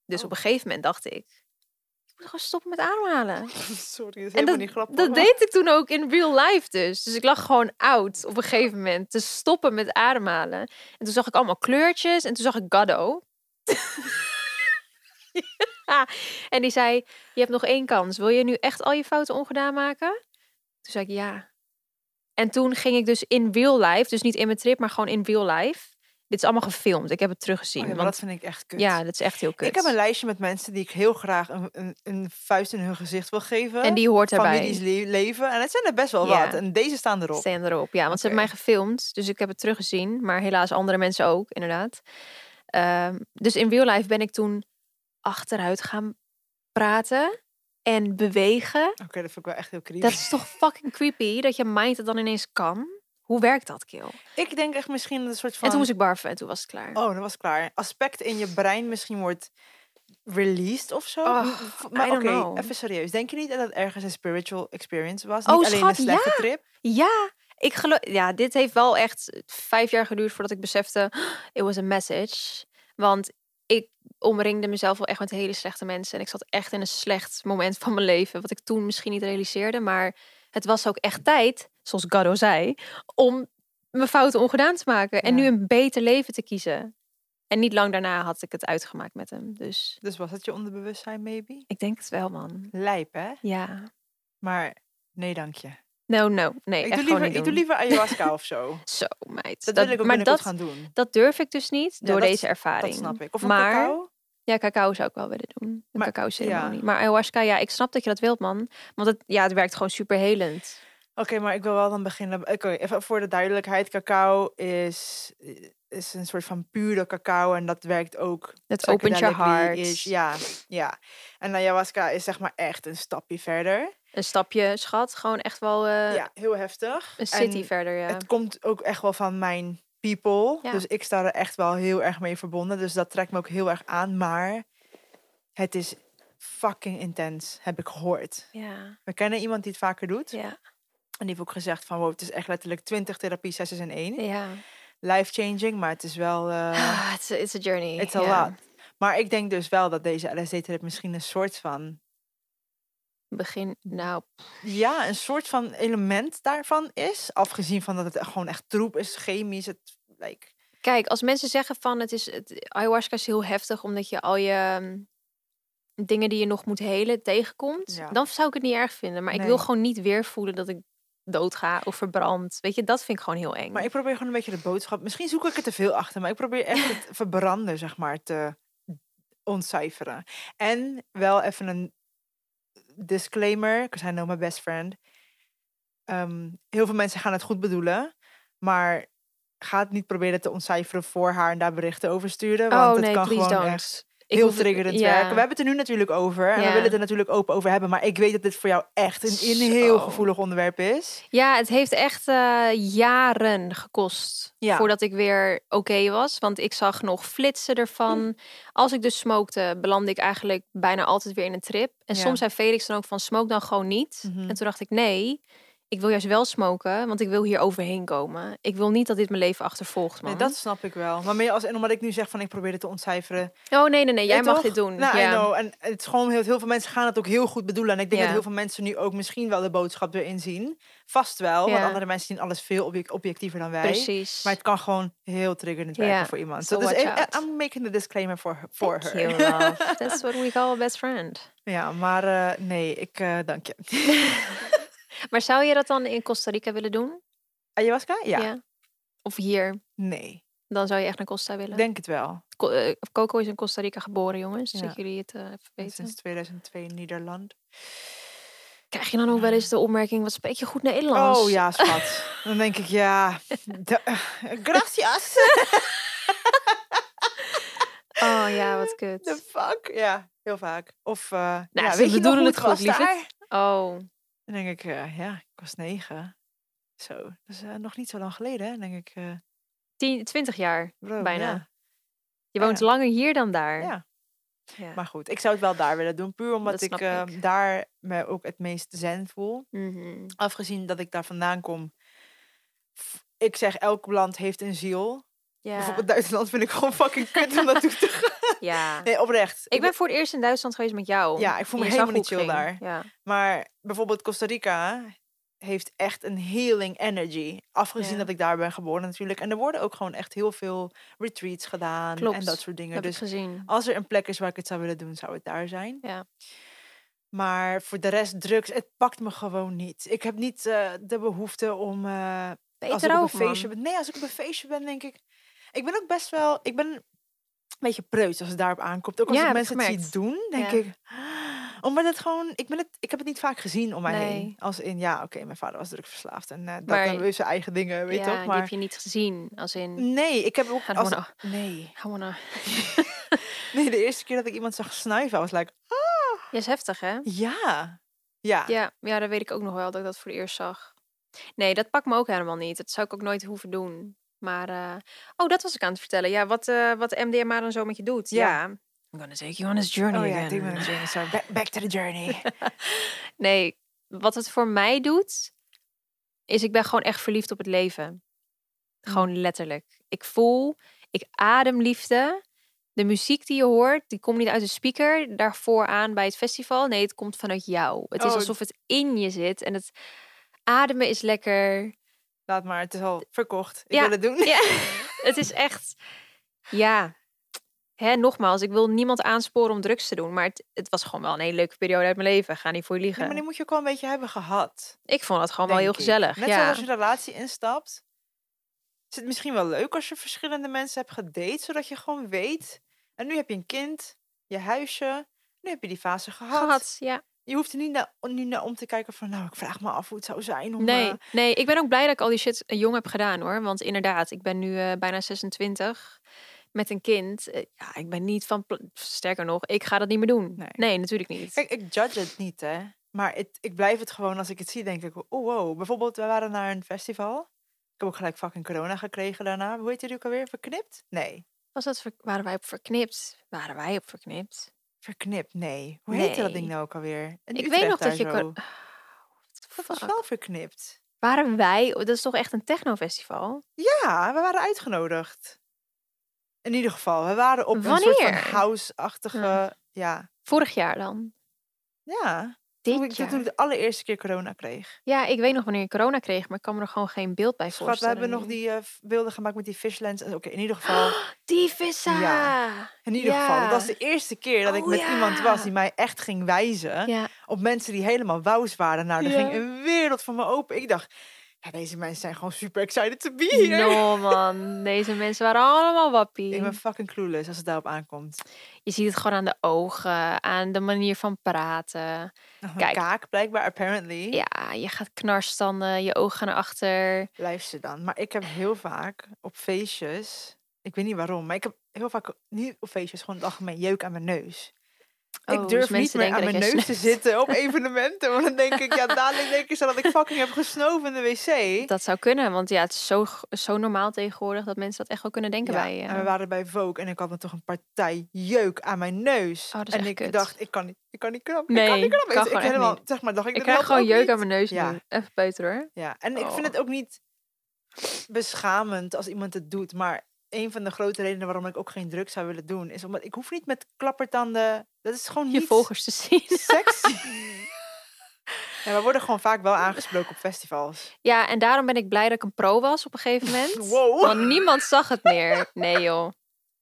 S2: Dus
S1: Oh.
S2: op een gegeven moment dacht ik, ik moet gewoon stoppen met ademhalen.
S1: (laughs) Sorry, dat is
S2: En
S1: helemaal niet grappig.
S2: Dat deed ik toen ook in real life dus. Dus ik lag gewoon oud op een gegeven moment te stoppen met ademhalen. En toen zag ik allemaal kleurtjes en toen zag ik Gaddo. (laughs) Ja, En die zei, je hebt nog één kans. Wil je nu echt al je fouten ongedaan maken? Toen zei ik ja. En toen ging ik dus in real life, dus niet in mijn trip, maar gewoon in real life. Dit is allemaal gefilmd. Ik heb het
S1: Oh
S2: teruggezien.
S1: ja, maar
S2: want,
S1: dat vind ik echt kut.
S2: ja, dat is echt heel kut.
S1: Ik heb een lijstje met mensen die ik heel graag een, een, een vuist in hun gezicht wil geven.
S2: en die hoort
S1: van
S2: erbij.
S1: wie die le- leven. En het zijn er best wel
S2: Ja.
S1: wat. En deze staan erop.
S2: Staan erop, ja. Want ze hebben
S1: Oké.
S2: mij gefilmd, dus ik heb het teruggezien. Maar helaas andere mensen ook, inderdaad. Ehm, dus in real life ben ik toen achteruit gaan praten en bewegen.
S1: Oké, dat vind ik wel echt heel creepy.
S2: Dat is toch fucking creepy, dat je mind het dan ineens kan? Hoe werkt dat, Kil?
S1: Ik denk echt misschien een soort van...
S2: En toen moest ik barfen en toen was het klaar.
S1: Oh, dat was klaar. Aspect in je brein misschien wordt released of zo.
S2: Ugh,
S1: M- v- maar
S2: Ah, I
S1: oké,
S2: don't know.
S1: even serieus. Denk je niet dat het ergens een spiritual experience was?
S2: Oh,
S1: niet alleen
S2: schat,
S1: een slechte trip?
S2: Ja, ik geloof. Ja, dit heeft wel echt vijf jaar geduurd voordat ik besefte. (gasps) It was a message. Want ik omringde mezelf wel echt met hele slechte mensen. En ik zat echt in een slecht moment van mijn leven. Wat ik toen misschien niet realiseerde. Maar het was ook echt tijd, zoals Gaddo zei, om mijn fouten ongedaan te maken. En
S1: Ja.
S2: nu een beter leven te kiezen. En niet lang daarna had ik het uitgemaakt met hem. Dus
S1: Dus was het je onderbewustzijn, maybe?
S2: ik denk het wel, man.
S1: Lijp, hè?
S2: Ja.
S1: Maar nee, dank je.
S2: No, no. Nee,
S1: Ik,
S2: echt
S1: doe
S2: gewoon
S1: liever,
S2: niet
S1: ik doe
S2: doen.
S1: liever ayahuasca of
S2: (laughs)
S1: zo.
S2: Zo, meid.
S1: Dat, wil ik ook
S2: maar
S1: binnenkort
S2: dat,
S1: gaan doen.
S2: Dat durf ik dus niet
S1: Ja,
S2: door
S1: dat-
S2: deze ervaring.
S1: Dat snap ik. Of een
S2: maar
S1: cacao?
S2: ja, cacao zou ik wel willen doen. Een
S1: Maar-
S2: cacao ceremonie. Maar ayahuasca, ja, ik snap dat je dat wilt, man. Want het, ja, het werkt gewoon super helend.
S1: Oké, maar ik wil wel dan beginnen. Oké, even voor de duidelijkheid. Cacao is, eh, is een soort van pure cacao. En dat werkt ook
S2: Het opent je
S1: psychedelically
S2: hart.
S1: is- Ja, ja. En ayahuasca is zeg maar echt een stapje verder.
S2: Een stapje, schat. Gewoon echt wel eh,
S1: ja, heel heftig.
S2: een city
S1: En
S2: verder, ja.
S1: Het komt ook echt wel van mijn people.
S2: Ja.
S1: Dus ik sta er echt wel heel erg mee verbonden. Dus dat trekt me ook heel erg aan. Maar het is fucking intens, heb ik gehoord.
S2: Ja,
S1: We kennen iemand die het vaker doet.
S2: ja,
S1: En die heeft ook gezegd van, wow, het is echt letterlijk 20 therapie sessies in één.
S2: ja.
S1: Life-changing, maar het is wel... eh,
S2: (gasps) Ah, it's, a, it's a journey.
S1: It's a
S2: ja.
S1: lot. Maar ik denk dus wel dat deze LSD-trip misschien een soort van...
S2: Begin, nou,
S1: Ja, een soort van element daarvan is. Afgezien van dat het echt gewoon echt troep is, chemisch. Het, like,
S2: Kijk, als mensen zeggen van het is het, ayahuasca is heel heftig omdat je al je mm, dingen die je nog moet helen tegenkomt,
S1: Ja.
S2: dan zou ik het niet erg vinden. Maar ik wil
S1: Nee.
S2: gewoon niet weer voelen dat ik doodga of verbrand. Weet je, dat vind ik gewoon heel eng.
S1: Maar ik probeer gewoon een beetje de boodschap... Misschien zoek ik het te veel achter, maar ik probeer echt
S2: (laughs)
S1: het verbranden, zeg maar, te ontcijferen. En wel even een disclaimer, because I know my best friend. Ehm, heel veel mensen gaan het goed bedoelen, maar ga het niet proberen te ontcijferen voor haar en daar berichten over sturen.
S2: Oh,
S1: Want het
S2: nee,
S1: kan
S2: please
S1: gewoon
S2: don't.
S1: echt
S2: Ik
S1: heel
S2: hoef het-
S1: triggerend
S2: ja.
S1: werken. We hebben het er nu natuurlijk over en we
S2: Ja.
S1: willen het er natuurlijk open over hebben, maar ik weet dat dit voor jou echt een, een heel
S2: Zo.
S1: gevoelig onderwerp is.
S2: Ja, het heeft echt eh, jaren gekost
S1: Ja.
S2: voordat ik weer oké was. Want ik zag nog flitsen ervan.
S1: Hm.
S2: Als ik dus smokte, belandde ik eigenlijk bijna altijd weer in een trip. En
S1: Ja.
S2: soms zei Felix dan ook van, smoke dan gewoon niet.
S1: Mhm.
S2: En toen dacht ik, nee, ik wil juist wel smoken, want ik wil hier overheen komen. Ik wil niet dat dit mijn leven achtervolgt, man.
S1: Nee, dat snap ik wel. Maar meer als, en omdat ik nu zeg van ik probeer het te ontcijferen.
S2: Oh, nee, nee, nee, jij
S1: Nee,
S2: mag
S1: toch?
S2: dit doen.
S1: Nou, I
S2: ja.
S1: know. En het is gewoon heel, heel veel mensen gaan het ook heel goed bedoelen. En ik denk
S2: Ja.
S1: dat heel veel mensen nu ook misschien wel de boodschap erin zien. Vast wel, want
S2: Ja.
S1: andere mensen zien alles veel objec- objectiever dan wij.
S2: Precies.
S1: Maar het kan gewoon heel triggerend werken
S2: Ja,
S1: voor iemand.
S2: so
S1: So dus
S2: watch
S1: eh, eh,
S2: out.
S1: I'm making the disclaimer for, her- for
S2: Thank
S1: her.
S2: you, love. That's what we call a best friend.
S1: (laughs) Ja, maar eh, nee, ik eh, dank je.
S2: (laughs) Maar zou je dat dan in Costa Rica willen doen?
S1: Ayahuasca? Ja.
S2: Of hier?
S1: Nee,
S2: Dan zou je echt naar Costa willen?
S1: ik denk het wel.
S2: Co- eh, Coco is in Costa Rica geboren, jongens.
S1: Ja.
S2: Dat jullie het eh, even weten.
S1: Sinds 2002 in Nederland.
S2: Krijg je dan ook wel eens de opmerking, wat spreek je goed Nederlands?
S1: Oh ja, schat. Dan denk ik,
S2: (laughs)
S1: ja, da- gracias.
S2: Oh ja,
S1: (laughs)
S2: wat kut.
S1: The fuck? Ja, heel vaak. Of, eh
S2: Nou,
S1: ja,
S2: ze
S1: weet je nog
S2: bedoelen
S1: hoe
S2: het
S1: het
S2: goed,
S1: was
S2: lieverd.
S1: daar?
S2: Oh,
S1: Dan denk ik, eh, ja, ik was negen. Zo, dat is eh, nog niet zo lang geleden, hè? Dan denk ik, eh,
S2: 10, 20 jaar.
S1: bro,
S2: Bijna.
S1: ja.
S2: Je woont
S1: Ja.
S2: langer hier dan daar.
S1: Ja.
S2: Ja.
S1: Maar goed, ik zou het wel daar willen doen. Puur omdat
S2: Dat
S1: ik,
S2: snap
S1: eh,
S2: ik.
S1: daar me ook het meest zen voel.
S2: Mhm.
S1: Afgezien dat ik daar vandaan kom. f- Ik zeg, elk land heeft een ziel.
S2: ja.
S1: Bijvoorbeeld Duitsland vind ik gewoon fucking kut om naartoe
S2: (laughs)
S1: te gaan. (laughs)
S2: ja.
S1: Nee, oprecht.
S2: Ik ben voor het eerst in Duitsland geweest met jou.
S1: Ja, ik voel me
S2: Je zag
S1: helemaal niet
S2: hoe
S1: chill
S2: het
S1: daar.
S2: ging. Ja.
S1: Maar bijvoorbeeld Costa Rica heeft echt een healing energy. Afgezien
S2: Ja.
S1: dat ik daar ben geboren natuurlijk. En er worden ook gewoon echt heel veel retreats gedaan en
S2: Klopt.
S1: dat soort dingen.
S2: Heb
S1: Dus
S2: ik gezien.
S1: als er een plek is waar ik het zou willen doen, zou het daar zijn.
S2: Ja.
S1: Maar voor de rest drugs, het pakt me gewoon niet. Ik heb niet eh, de behoefte om eh, als ik
S2: Beter
S1: op
S2: ook,
S1: een feestje ben. Nee, als ik op een feestje ben, denk ik. Ik ben ook best wel. Ik ben een beetje preuts als het daarop aankomt. Ook als
S2: Ja,
S1: ik
S2: heb ik
S1: mensen het zie
S2: gemerkt.
S1: doen, denk
S2: Ja.
S1: ik. "Ah." Omdat het gewoon. Ik, ben het, ik heb het niet vaak gezien om mij
S2: Nee.
S1: heen. Als in ja, oké, mijn vader was drugsverslaafd en eh, dat
S2: Maar-
S1: hebben we zijn eigen dingen, weet je
S2: ja,
S1: toch?
S2: die
S1: Maar
S2: heb je niet gezien. Als in,
S1: nee, ik heb ook.
S2: (laughs) I don't
S1: Als,
S2: wanna-
S1: nee.
S2: I wanna-
S1: nee, de eerste keer dat ik iemand zag snuiven, I was like,
S2: Ja, is heftig, hè?
S1: ja, ja, Oh
S2: Ja, ja, dat weet ik ook nog wel dat ik dat voor het eerst zag. Nee, dat pakt me ook helemaal niet. Dat zou ik ook nooit hoeven doen. Maar, eh, oh, dat was ik aan het vertellen. Ja, wat, eh, wat MDMA dan zo met je doet.
S1: Ja.
S2: Ja. I'm gonna take you on this journey
S1: Oh ja, ik
S2: again.
S1: denk dat ik journey. Sorry, back, back to the
S2: (laughs)
S1: journey.
S2: Nee, wat het voor mij doet, is ik ben gewoon echt verliefd op het leven.
S1: Hm.
S2: Gewoon letterlijk. Ik voel, ik adem liefde. De muziek die je hoort, die komt niet uit de speaker daarvoor aan bij het festival. Nee, het komt vanuit jou. Het is
S1: Oh.
S2: alsof het in je zit en het ademen is
S1: (laughs)
S2: lekker.
S1: Laat maar, het is al verkocht. Ik
S2: Ja.
S1: wil het doen.
S2: Ja, het is echt, ja. Hè, nogmaals, ik wil niemand aansporen om drugs te doen, maar het, het was gewoon wel een hele leuke periode uit mijn leven. Ga niet voor je liegen.
S1: Nee, (laughs) maar die moet je ook wel een beetje hebben gehad.
S2: Ik vond het gewoon wel heel
S1: denk ik.
S2: gezellig.
S1: Net
S2: ja.
S1: zoals als je een relatie instapt. Is het misschien wel leuk als je verschillende mensen hebt gedate, zodat je gewoon weet. En nu heb je een kind, je huisje. Nu heb je die fase gehad.
S2: gehad. Ja.
S1: Je hoeft er niet na- nu naar om te kijken van, nou, ik vraag me af hoe het zou zijn om...
S2: Nee,
S1: eh,
S2: nee, ik ben ook blij dat ik al die shit eh, jong heb gedaan hoor. Want inderdaad, ik ben nu eh, bijna 26 met een kind. Eh, ja, ik ben niet van. pla- Sterker nog, ik ga dat niet meer doen. Nee,
S1: Nee.
S2: natuurlijk niet.
S1: Kijk, ik judge het niet, hè. Maar het, ik blijf het gewoon, als ik het zie, denk ik, oh wow. Bijvoorbeeld, we waren naar een festival. Ik heb ook gelijk fucking corona gekregen daarna. Hoe heet die ook alweer? Verknipt? Nee.
S2: Was dat ver- waren wij op verknipt? Waren wij op verknipt?
S1: Verknipt, nee. Hoe heette dat ding
S2: Nee.
S1: nou ook alweer? In
S2: Ik weet
S1: Utrecht
S2: nog
S1: daar
S2: dat je
S1: zo.
S2: kon.
S1: Dat
S2: Wat
S1: was wel verknipt.
S2: Waren wij, oh, dat is toch echt een technofestival?
S1: Ja, we waren uitgenodigd. In ieder geval, we waren op een soort van
S2: Wanneer?
S1: house-achtige... Ja, ja.
S2: Vorig jaar dan? Dit
S1: Toen, ik, toen
S2: jaar?
S1: ik de allereerste keer corona kreeg.
S2: Ja, ik weet nog wanneer je corona kreeg, maar ik kan me er gewoon geen beeld bij
S1: Schat, we
S2: voorstellen.
S1: hebben nog
S2: nu.
S1: die eh, f- beelden gemaakt met die fishlens. En Oké, in ieder
S2: (gasps)
S1: geval...
S2: Die vissa!
S1: Ja.
S2: Ja.
S1: In ieder geval, dat was
S2: Ja.
S1: de eerste keer dat ik
S2: Oh,
S1: met iemand was die
S2: ja.
S1: mij echt ging wijzen
S2: ja.
S1: op mensen die helemaal wous waren. Nou, er ging
S2: Ja.
S1: een wereld van me open. Ik dacht, ja, deze mensen zijn gewoon super excited to be here.
S2: No man, deze mensen waren allemaal wappie.
S1: Ik ben fucking clueless als het daarop aankomt.
S2: Je ziet het gewoon aan de ogen, aan de manier van praten.
S1: Nog Mijn
S2: Kijk.
S1: kaak blijkbaar, apparently.
S2: Ja, je gaat knarstanden, je ogen gaan naar achter.
S1: Luister dan. Maar ik heb heel vaak op feestjes, ik weet niet waarom, maar ik heb heel vaak, niet op feestjes, gewoon in het algemeen jeuk aan mijn neus.
S2: Oh,
S1: ik
S2: dus
S1: durf niet
S2: mensen
S1: meer aan
S2: denken
S1: mijn neus
S2: dat jij
S1: te
S2: snuift.
S1: zitten
S2: (laughs)
S1: op evenementen. Want dan denk ik, ja, dadelijk denken ze dat ik fucking heb gesnoven in de wc.
S2: Dat zou kunnen, want ja, het is zo, g- zo normaal tegenwoordig dat mensen dat echt wel kunnen denken
S1: Ja,
S2: bij je.
S1: En we waren bij Vogue en ik had me toch een partij jeuk aan mijn neus.
S2: Oh, dat is
S1: en
S2: echt
S1: ik
S2: kut.
S1: dacht, ik kan niet, ik kan niet knappen. ik kan
S2: Nee,
S1: niet knappen.
S2: kan
S1: Dus ik
S2: gewoon echt
S1: helemaal,
S2: niet.
S1: zeg maar, dacht ik,
S2: ik
S1: dat
S2: krijg
S1: helpt
S2: gewoon
S1: ook
S2: jeuk
S1: niet.
S2: aan mijn neus
S1: Ja.
S2: nu. Even peuter hoor.
S1: Ja, en ik vind
S2: Oh.
S1: het ook niet beschamend als iemand het doet, maar een van de grote redenen waarom ik ook geen drugs zou willen doen, is omdat ik hoef niet met klappertanden. Dat is gewoon
S2: Je
S1: niet
S2: volgers te (laughs) zien.
S1: sexy. Ja, we worden gewoon vaak wel aangesproken op festivals.
S2: Ja, en daarom ben ik blij dat ik een pro was op een
S1: (laughs)
S2: gegeven moment.
S1: Wow.
S2: Want niemand zag het meer. Nee joh.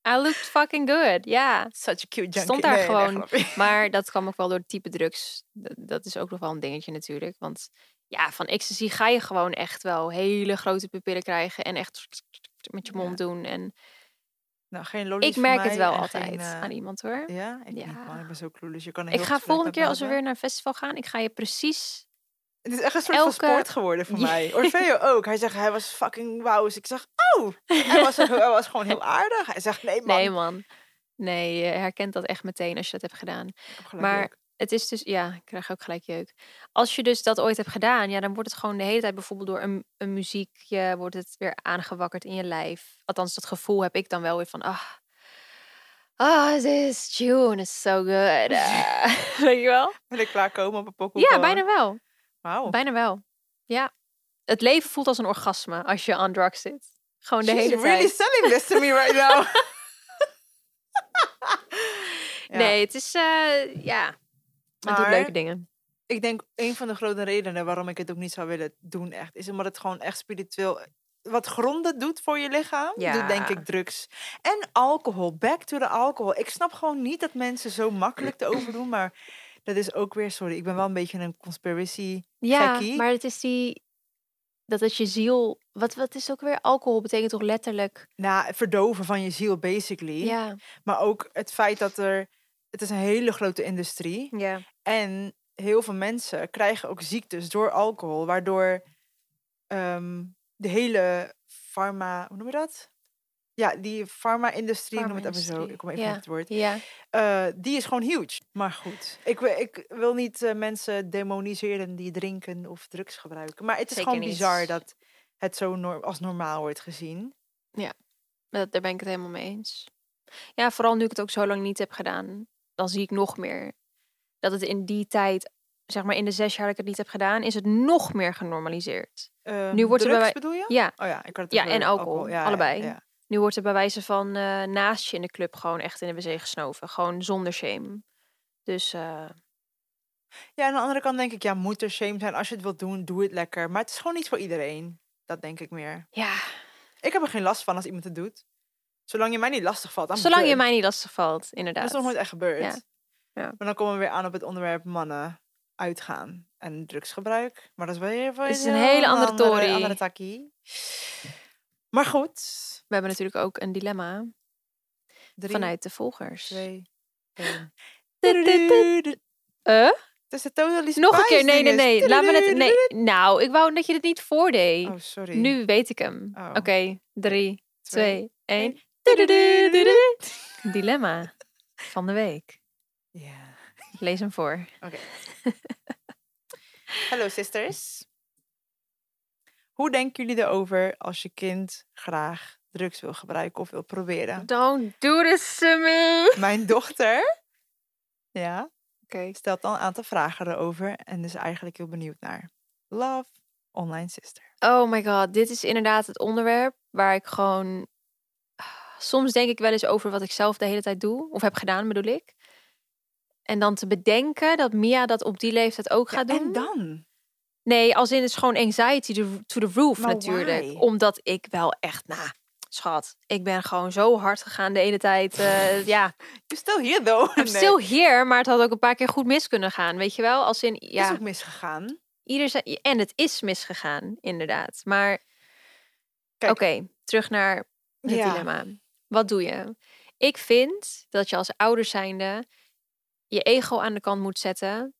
S2: I looked fucking good, ja.
S1: Such a cute junkie.
S2: Stond daar
S1: Nee, nee,
S2: gewoon.
S1: grapje.
S2: Maar dat kwam ook wel door het type drugs. D- Dat is ook nog wel een dingetje natuurlijk. Want ja, van ecstasy ga je gewoon echt wel hele grote pupillen krijgen. En echt met je mond
S1: Ja.
S2: doen. En
S1: Nou, geen lollies
S2: ik
S1: voor
S2: merk het
S1: mij
S2: wel
S1: en
S2: altijd
S1: geen, eh,
S2: aan iemand hoor.
S1: Ja, ik niet,
S2: Ja.
S1: man. Ik ben zo clueless. Je kan een
S2: Ik
S1: heel
S2: ga
S1: gesprek
S2: volgende
S1: met
S2: keer
S1: me
S2: als we
S1: hebben.
S2: weer naar een festival gaan, ik ga je precies...
S1: Het is echt een soort van
S2: elke-
S1: sport geworden voor
S2: (laughs) Ja.
S1: mij. Orfeo ook. Hij zegt, hij was fucking wauw. Dus ik zeg, oh! Hij was, hij was gewoon
S2: (laughs)
S1: heel aardig. Hij zegt, nee man.
S2: Nee man. Nee, je herkent dat echt meteen als je dat hebt gedaan.
S1: Ik heb gelijk
S2: maar-
S1: ook.
S2: Het is dus, ja, ik krijg ook gelijk jeuk. Als je dus dat ooit hebt gedaan, ja, dan wordt het gewoon de hele tijd bijvoorbeeld door een, een muziekje, wordt het weer aangewakkerd in je lijf. Althans, dat gevoel heb ik dan wel weer van, ah, ah, this tune is so good. (laughs) Ah, Weet je wel?
S1: Wil ik klaarkomen op een pokkel?
S2: Ja,
S1: gewoon?
S2: bijna wel. Oh.
S1: Wauw.
S2: Bijna wel. Ja. Het leven voelt als een orgasme als je aan drugs zit. Gewoon de
S1: She's
S2: hele tijd.
S1: really selling this to me right
S2: (laughs)
S1: now. (laughs) Ja,
S2: Nee, het is, eh, ja, het doet
S1: maar
S2: leuke dingen.
S1: Ik denk, een van de grote redenen waarom ik het ook niet zou willen doen echt, is omdat het gewoon echt spiritueel... eh, Wat gronden doet voor je lichaam, doet denk
S2: Ja.
S1: ik drugs. En alcohol, back to the alcohol. Ik snap gewoon niet dat mensen zo makkelijk te overdoen, maar dat is ook weer, sorry, ik ben wel een beetje een conspiracy
S2: Ja,
S1: gekkie.
S2: maar het is die... Dat het je ziel... Wat, wat is ook weer... Alcohol betekent toch letterlijk...
S1: Nou, het verdoven van je ziel, basically.
S2: Ja.
S1: Maar ook het feit dat er... Het is een hele grote industrie.
S2: ja.
S1: En heel veel mensen krijgen ook ziektes door alcohol. Waardoor ehm, de hele pharma... Hoe noem je dat? Ja, die pharma-industrie, ik noem het even zo.
S2: Farma-industrie,
S1: Ik kom even
S2: ja.
S1: op het woord.
S2: Ja.
S1: Eh, die is gewoon huge. Maar goed, ik, wi- ik wil niet eh, mensen demoniseren die drinken of drugs gebruiken. Maar het is
S2: Zeker
S1: gewoon
S2: niet.
S1: bizar dat het zo nor- als normaal wordt gezien.
S2: Dat, daar ben ik het helemaal mee eens. Ja, vooral nu ik het ook zo lang niet heb gedaan. Dan zie ik nog meer. Dat het in die tijd... Zeg maar in de zes jaar dat ik het niet heb gedaan... is het nog meer genormaliseerd.
S1: Eh,
S2: Nu wordt er
S1: drugs,
S2: bij wij-
S1: bedoel je?
S2: Ja.
S1: Oh ja, ik had het
S2: Ja,
S1: over
S2: en alcohol, allebei.
S1: Ja, ja.
S2: Nu wordt er bij wijze van eh, naast je in de club... gewoon echt in de wc gesnoven. Gewoon zonder shame. Dus eh,
S1: Ja, aan de andere kant denk ik, ja, moet er shame zijn. Als je het wilt doen, doe het lekker. Maar het is gewoon niet voor iedereen. Dat denk ik meer.
S2: ja,
S1: Ik heb er geen last van als iemand het doet. Zolang je mij niet lastig valt.
S2: zolang je mij niet lastig valt,
S1: Dat
S2: inderdaad.
S1: is nog nooit echt gebeurd.
S2: Ja. Ja.
S1: Maar dan komen we weer aan op het onderwerp mannen uitgaan en drugsgebruik. Maar dat is weer voor
S2: Het is een hele andere
S1: Andere,
S2: tory.
S1: andere takkie. Maar goed.
S2: We hebben natuurlijk ook een dilemma
S1: Drie,
S2: vanuit de volgers.
S1: twee, één.
S2: Dit, dit,
S1: Tududu.
S2: Eh?
S1: Het is de totally
S2: Nog een
S1: Spice
S2: keer, nee,
S1: dinges.
S2: nee, nee. Laat me het.
S1: Tududu.
S2: Nee. Nou, ik wou dat je dit niet voordeed.
S1: Oh, sorry.
S2: nu weet ik hem.
S1: Oh.
S2: Oké, drie, twee, één. Dilemma van de week.
S1: Ja.
S2: Lees hem voor.
S1: Hallo sisters. Hoe denken jullie erover als je kind graag drugs
S2: (laughs)
S1: wil gebruiken of wil proberen?
S2: Don't do this to me.
S1: Mijn dochter Ja.
S2: Oké.
S1: Stelt dan een aantal vragen erover en is eigenlijk heel benieuwd naar. Love, online sister.
S2: Oh my god, dit is inderdaad het onderwerp waar ik gewoon. Soms denk ik wel eens over wat ik zelf de hele tijd doe, of heb gedaan, bedoel ik. En dan te bedenken dat Mia dat op die leeftijd ook gaat doen.
S1: En dan?
S2: Nee, als in het is gewoon anxiety to to the roof
S1: Maar
S2: natuurlijk.
S1: why?
S2: Omdat ik wel echt, nou, schat, ik ben gewoon zo hard gegaan de ene
S1: (laughs)
S2: tijd. eh, ja,
S1: Je stil hier, though.
S2: I'm still here, maar het had ook een paar keer goed mis kunnen gaan, weet je wel? Als in,
S1: Ja.
S2: ja,
S1: Is ook misgegaan.
S2: ieder zijn, en het is misgegaan, inderdaad. Maar, oké,
S1: Kijk.
S2: terug naar het
S1: Ja.
S2: dilemma. Wat doe je? Ik vind dat je als ouder zijnde je ego aan de kant moet zetten.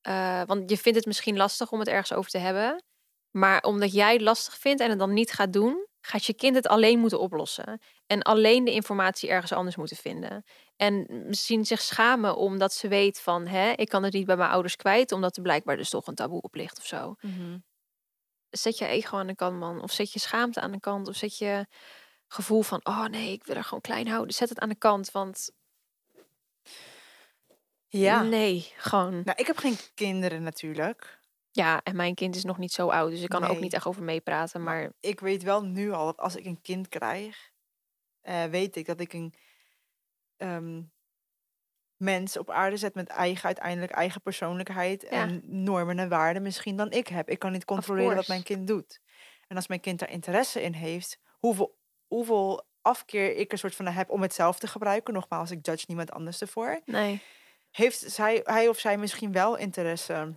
S2: Eh, want je vindt het misschien lastig om het ergens over te hebben. Maar omdat jij het lastig vindt en het dan niet gaat doen, gaat je kind het alleen moeten oplossen. En alleen de informatie ergens anders moeten vinden. En misschien zich schamen omdat ze weet van, hè, ik kan het niet bij mijn ouders kwijt, omdat er blijkbaar dus toch een taboe op ligt of zo zet je ego aan de kant, man. Of zet je schaamte aan de kant. Of zet je gevoel van, oh nee, ik wil er gewoon klein houden. Zet het aan de kant, want
S1: Ja.
S2: nee, gewoon.
S1: Nou, ik heb geen kinderen natuurlijk.
S2: Ja, en mijn kind is nog niet zo oud, dus ik kan er ook
S1: Nee.
S2: niet echt over meepraten. Maar
S1: Ik weet wel nu al dat als ik een kind krijg, eh, weet ik dat ik een ehm, mens op aarde zet met eigen, uiteindelijk eigen persoonlijkheid en normen en waarden misschien dan ik heb. Ik kan niet controleren wat
S2: course.
S1: mijn kind doet. En als mijn kind daar interesse in heeft, hoeveel, hoeveel afkeer ik er soort van heb om het zelf te gebruiken, nogmaals, ik judge niemand anders ervoor,
S2: nee,
S1: heeft zij, hij of zij misschien wel interesse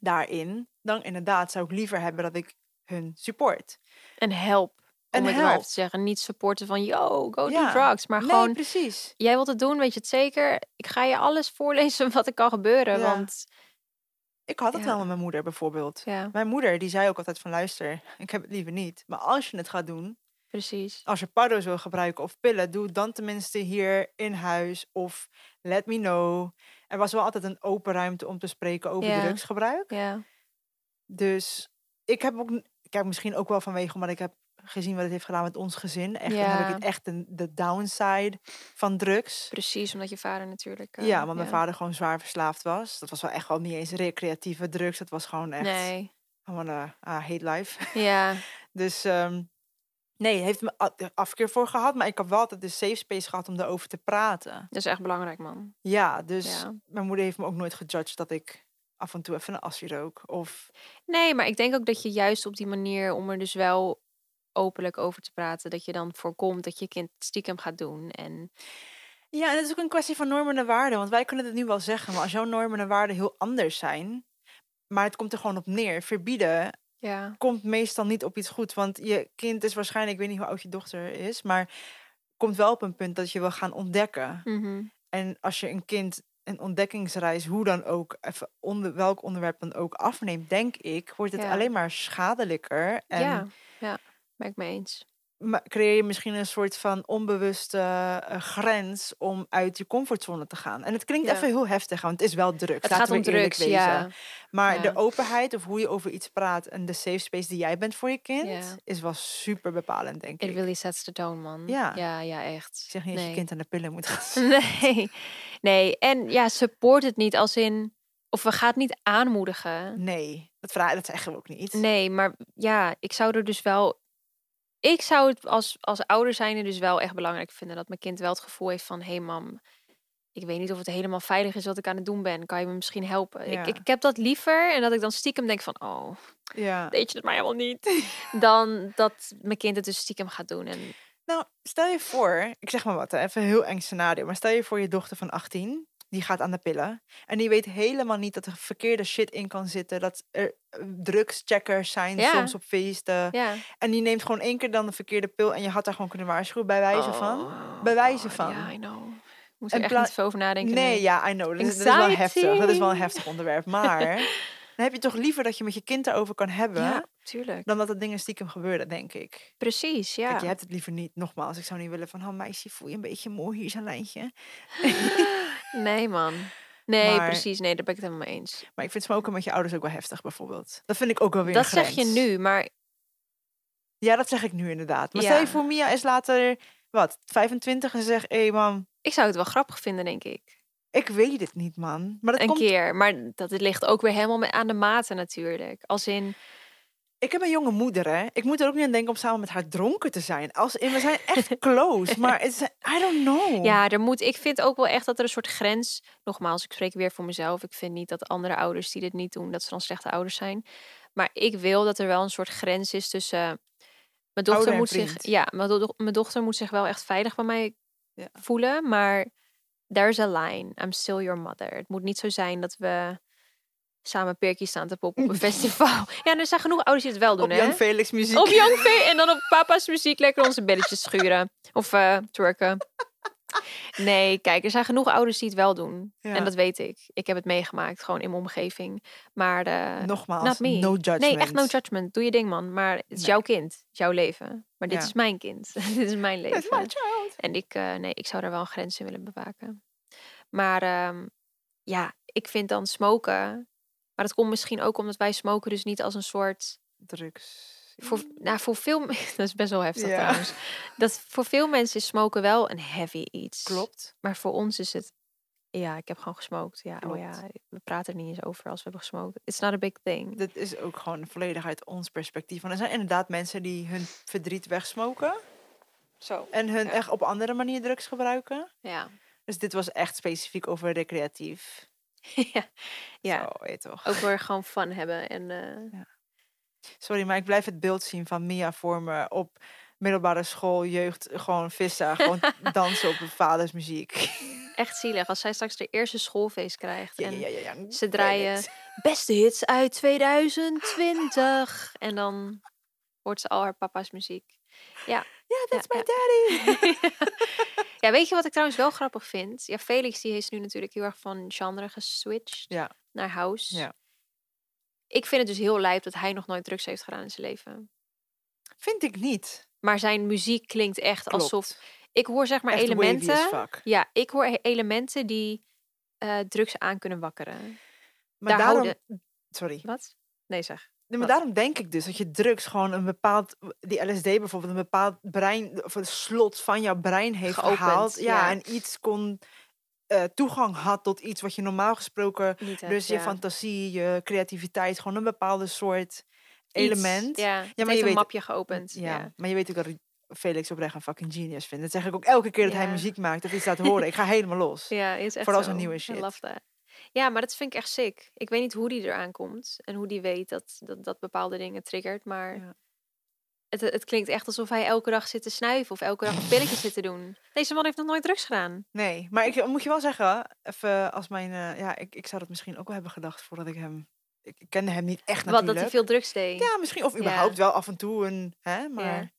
S1: daarin, dan inderdaad zou ik liever hebben dat ik hun support.
S2: en help. Om
S1: En
S2: het maar even
S1: help.
S2: te zeggen, niet supporten van, yo, go
S1: Ja.
S2: do drugs. Maar
S1: nee,
S2: gewoon,
S1: precies.
S2: jij wilt het doen, weet je het zeker? Ik ga je alles voorlezen (laughs) wat er kan gebeuren.
S1: Ja.
S2: Want,
S1: Ik had het
S2: Ja.
S1: wel met mijn moeder bijvoorbeeld.
S2: ja,
S1: Mijn moeder die zei ook altijd van luister, ik heb het liever niet. Maar als je het gaat doen,
S2: precies.
S1: als je paddo's wil gebruiken of pillen, doe het dan tenminste hier in huis of let me know. Er was wel altijd een open ruimte om te spreken over
S2: Ja.
S1: drugsgebruik.
S2: Ja,
S1: Dus ik heb ook, n- kijk misschien ook wel vanwege omdat ik heb gezien wat het heeft gedaan met ons gezin. Echt, dan heb ik
S2: Ja.
S1: het echt een, de downside van drugs.
S2: precies, omdat je vader natuurlijk... eh,
S1: Ja, want mijn vader gewoon zwaar verslaafd was. Dat was wel echt wel niet eens recreatieve drugs. Dat was gewoon echt
S2: Nee,
S1: gewoon eh ah, hate life. (laughs)
S2: ja,
S1: Dus ehm, nee, heeft me a- er afkeer voor gehad. Maar ik heb wel altijd de safe space gehad om daarover te praten.
S2: dat is echt belangrijk, man.
S1: Ja, dus
S2: Ja.
S1: mijn moeder heeft me ook nooit gejudged dat ik af en toe even een asje rook. Of
S2: Nee, maar ik denk ook dat je juist op die manier om er dus wel openlijk over te praten, dat je dan voorkomt dat je kind stiekem gaat doen. En
S1: Ja, en het is ook een kwestie van normen en waarden. Want wij kunnen het nu wel zeggen, maar als jouw normen en waarden heel anders zijn... Maar het komt er gewoon op neer. Verbieden
S2: ja,
S1: komt meestal niet op iets goed. Want je kind is waarschijnlijk, ik weet niet hoe oud je dochter is, maar komt wel op een punt dat je wil gaan ontdekken.
S2: Mhm.
S1: En als je een kind een ontdekkingsreis, hoe dan ook, even onder welk onderwerp dan ook afneemt, denk ik, wordt het
S2: Ja.
S1: alleen maar schadelijker. En
S2: ja, ja, ben ik mee eens.
S1: ma- creëer je misschien een soort van onbewuste eh, grens om uit je comfortzone te gaan. En het klinkt
S2: Ja.
S1: even heel heftig, want het is wel druk.
S2: Het gaat om drugs, ja.
S1: Maar
S2: Ja.
S1: de openheid of hoe je over iets praat en de safe space die jij bent voor je kind,
S2: Ja.
S1: is wel super bepalend, denk
S2: It
S1: ik.
S2: really sets the tone, man.
S1: Ja.
S2: ja, ja echt.
S1: Ik zeg niet dat je kind aan de pillen moet gaan.
S2: (laughs) Nee, nee. En ja, support het niet als in, of we gaan het niet aanmoedigen.
S1: Nee, dat, vragen, dat zeggen we ook niet.
S2: Nee, maar ja, ik zou er dus wel. Ik zou het als, als ouder zijnde dus wel echt belangrijk vinden dat mijn kind wel het gevoel heeft van: hé hey mam, ik weet niet of het helemaal veilig is wat ik aan het doen ben. Kan je me misschien helpen?
S1: Ja.
S2: Ik, ik, ik heb dat liever en dat ik dan stiekem denk van: oh,
S1: Ja.
S2: deed je het maar helemaal
S1: (laughs)
S2: niet. dan dat mijn kind het dus stiekem gaat doen. En
S1: Nou, stel je voor, ik zeg maar wat, hè, even een heel eng scenario, maar stel je voor je dochter van 18, die gaat aan de pillen en die weet helemaal niet dat er verkeerde shit in kan zitten, dat er eh, drugscheckers zijn
S2: Ja.
S1: soms op feesten
S2: ja.
S1: en die neemt gewoon één keer dan de verkeerde pil en je had daar gewoon kunnen waarschuwen bij wijze
S2: Oh,
S1: van. bij wijze van.
S2: Ja, I know. Ik Moet
S1: En
S2: er echt
S1: pla-
S2: niet veel over nadenken.
S1: Nee, ja, I know. Dat is, dat is wel heftig. Dat is wel een heftig onderwerp.
S2: (laughs)
S1: Maar dan heb je toch liever dat je met je kind daarover kan hebben,
S2: Ja, tuurlijk.
S1: dan dat dat dingen stiekem gebeuren, denk ik.
S2: Precies, ja.
S1: Kijk, je hebt het liever niet. Nogmaals, ik zou niet willen van, oh meisje, voel je een beetje moe, hier is een lijntje.
S2: Nee, man. Nee,
S1: Maar-
S2: precies. Nee, daar ben ik het helemaal mee eens.
S1: Maar ik vind smoken met je ouders ook wel heftig, bijvoorbeeld. Dat vind ik ook wel weer
S2: Dat
S1: een
S2: zeg je
S1: grens.
S2: nu, maar
S1: Ja, dat zeg ik nu inderdaad. Maar stel je
S2: Ja.
S1: voor, Mia is later, wat, 25 en zegt, hé hey, mam,
S2: ik zou het wel grappig vinden, denk ik.
S1: Ik weet het niet, man. Maar dat
S2: een
S1: komt...
S2: keer. Maar dat het ligt ook weer helemaal me- aan de mate natuurlijk. Als in,
S1: Ik heb een jonge moeder, hè. Ik moet er ook niet aan denken om samen met haar dronken te zijn. Als in, we zijn
S2: (laughs)
S1: echt close, maar het is, I don't know.
S2: ja, er moet, ik vind ook wel echt dat er een soort grens... Nogmaals, ik spreek weer voor mezelf. Ik vind niet dat andere ouders die dit niet doen, dat ze dan slechte ouders zijn. Maar ik wil dat er wel een soort grens is tussen... eh, Mijn
S1: Ouder
S2: dochter,
S1: en
S2: moet zich,
S1: vriend.
S2: ja, mijn, do- mijn dochter moet zich wel echt veilig bij mij
S1: Ja.
S2: voelen. Maar there's a line. I'm still your mother. Het moet niet zo zijn dat we samen perkjes staan te poppen
S1: (laughs)
S2: op een festival. Ja, er zijn genoeg ouders die het wel doen,
S1: Op
S2: hè?
S1: Jan Felix muziek.
S2: Op Young Vee en dan op papa's muziek lekker onze belletjes schuren. Of eh twerken. Nee, kijk, er zijn genoeg ouders die het wel doen.
S1: Ja.
S2: En dat weet ik. Ik heb het meegemaakt, gewoon in mijn omgeving. Maar eh,
S1: Nogmaals,
S2: not me.
S1: no judgment.
S2: nee, echt
S1: (laughs)
S2: no judgment. Doe je ding, man. Maar het is
S1: Nee.
S2: jouw kind, het is jouw leven. Maar dit
S1: Ja.
S2: is mijn kind. (laughs) dit is mijn leven.
S1: That's my child.
S2: En ik, eh, nee, ik zou daar wel een grens in willen bewaken. Maar ehm, ja, ik vind dan smoken. Maar dat komt misschien ook omdat wij smoken dus niet als een soort.
S1: Drugs.
S2: Voor, nou, voor veel men- (laughs) dat is best wel heftig
S1: Mm. Ja.
S2: trouwens. Dat voor veel mensen is smoken wel een heavy iets.
S1: Klopt.
S2: Maar voor ons is het. Ja, ik heb gewoon gesmokt. Ja, oh
S1: Klopt.
S2: ja, we praten er niet eens over als we hebben gesmokt. It's not a big thing.
S1: Dat is ook gewoon volledig uit ons perspectief. Want er zijn inderdaad mensen die hun verdriet wegsmoken.
S2: Zo.
S1: En hun
S2: Ja.
S1: echt op andere manier drugs gebruiken.
S2: Ja. (laughs)
S1: Dus dit was echt specifiek over recreatief.
S2: ja. ja.
S1: Zo, weet je toch.
S2: Ook weer gewoon fun hebben. En, eh,
S1: Sorry, maar ik blijf het beeld zien van Mia voor me op middelbare school, jeugd, gewoon
S2: (laughs)
S1: vissen, gewoon dansen op mijn vaders muziek.
S2: echt zielig. Als zij straks de eerste schoolfeest krijgt.
S1: Ja,
S2: en
S1: ja, ja, ja.
S2: Ze draaien beste hits uit 2020. En dan hoort ze al haar papa's muziek.
S1: Ja, that's
S2: Ja,
S1: my daddy.
S2: ja, weet je wat ik trouwens wel grappig vind? Ja, Felix die is nu natuurlijk heel erg van genre geswitcht
S1: Ja.
S2: naar house.
S1: Ja.
S2: Ik vind het dus heel lijp dat hij nog nooit drugs heeft gedaan in zijn leven.
S1: Vind ik niet.
S2: Maar zijn muziek klinkt echt
S1: Klopt.
S2: alsof... Ik hoor zeg maar
S1: Echt wavy as
S2: elementen...
S1: fuck.
S2: Ja, ik hoor he- elementen die eh, drugs aan kunnen wakkeren.
S1: Maar
S2: Daar
S1: daarom,
S2: houden-
S1: sorry.
S2: Wat? Nee zeg.
S1: Nee, maar
S2: Wat?
S1: daarom denk ik dus dat je drugs gewoon een bepaald, die LSD bijvoorbeeld, een bepaald brein, of een slot van jouw brein heeft
S2: Geopend,
S1: gehaald. Ja,
S2: ja.
S1: en iets kon, eh, toegang had tot iets wat je normaal gesproken,
S2: Niet echt,
S1: dus je
S2: ja.
S1: fantasie, je creativiteit, gewoon een bepaalde soort
S2: Iets,
S1: element.
S2: Ja, ja
S1: maar
S2: maar
S1: je
S2: een
S1: weet-
S2: mapje geopend.
S1: Ja,
S2: ja.
S1: maar je weet ook dat Felix oprecht een fucking genius vindt. Dat zeg ik ook elke keer dat hij
S2: Ja.
S1: muziek maakt of iets laat horen. Ik ga helemaal los.
S2: (laughs) Ja, is echt
S1: Vooral
S2: zo.
S1: zo'n nieuwe shit.
S2: I love that. Ja, maar dat vind ik echt sick. Ik weet niet hoe die eraan komt en hoe die weet dat dat, dat bepaalde dingen triggert, maar
S1: Ja.
S2: het, het klinkt echt alsof hij elke dag zit te snuiven of elke dag een pilletje zit te doen. Deze man heeft nog nooit drugs gedaan.
S1: Nee, maar ik moet je wel zeggen, even als mijn, eh, ja, ik, ik zou dat misschien ook wel hebben gedacht voordat ik hem, ik ik kende hem niet echt
S2: Wat
S1: natuurlijk.
S2: dat hij veel drugs deed.
S1: Ja, misschien of überhaupt wel af en toe een, hè, maar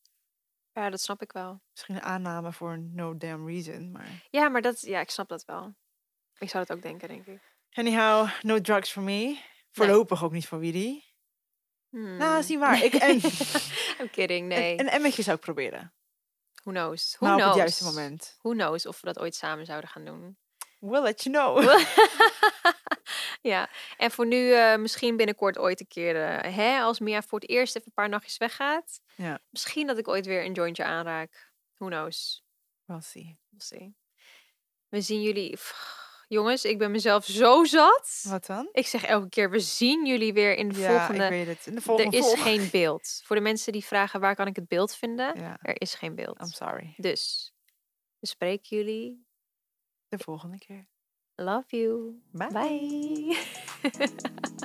S2: Ja, dat snap ik wel.
S1: misschien een aanname voor een no damn reason. Maar
S2: Ja, maar dat, ja, ik snap dat wel. Ik zou dat ook denken, denk ik.
S1: anyhow, no drugs for me. Voorlopig ook niet voor Willy.
S2: Hmm.
S1: Nou, is niet waar. Ik
S2: (laughs)
S1: en, (laughs)
S2: I'm kidding, nee.
S1: een emmetje zou ik proberen,
S2: Who knows? Who
S1: maar Nou, op
S2: knows?
S1: het juiste moment.
S2: Who knows of we dat ooit samen zouden gaan doen.
S1: We'll let you know.
S2: (laughs) ja, en voor nu eh, misschien binnenkort ooit een keer, eh, hè, als Mia voor het eerst even een paar nachtjes weggaat.
S1: Ja.
S2: Misschien dat ik ooit weer een jointje aanraak. Who knows?
S1: (laughs) We'll see.
S2: We'll see. We zien jullie... Pff, jongens, ik ben mezelf zo zat.
S1: Wat dan?
S2: Ik zeg elke keer, we zien jullie weer in de
S1: ik
S2: volgende...
S1: weet het. In de volgende
S2: er is
S1: volg-
S2: geen beeld. Voor de mensen die vragen, waar kan ik het beeld vinden?
S1: (laughs) Ja,
S2: Er is geen beeld.
S1: I'm sorry.
S2: Dus, we spreken jullie.
S1: De volgende keer.
S2: Love you.
S1: Bye.
S2: Bye.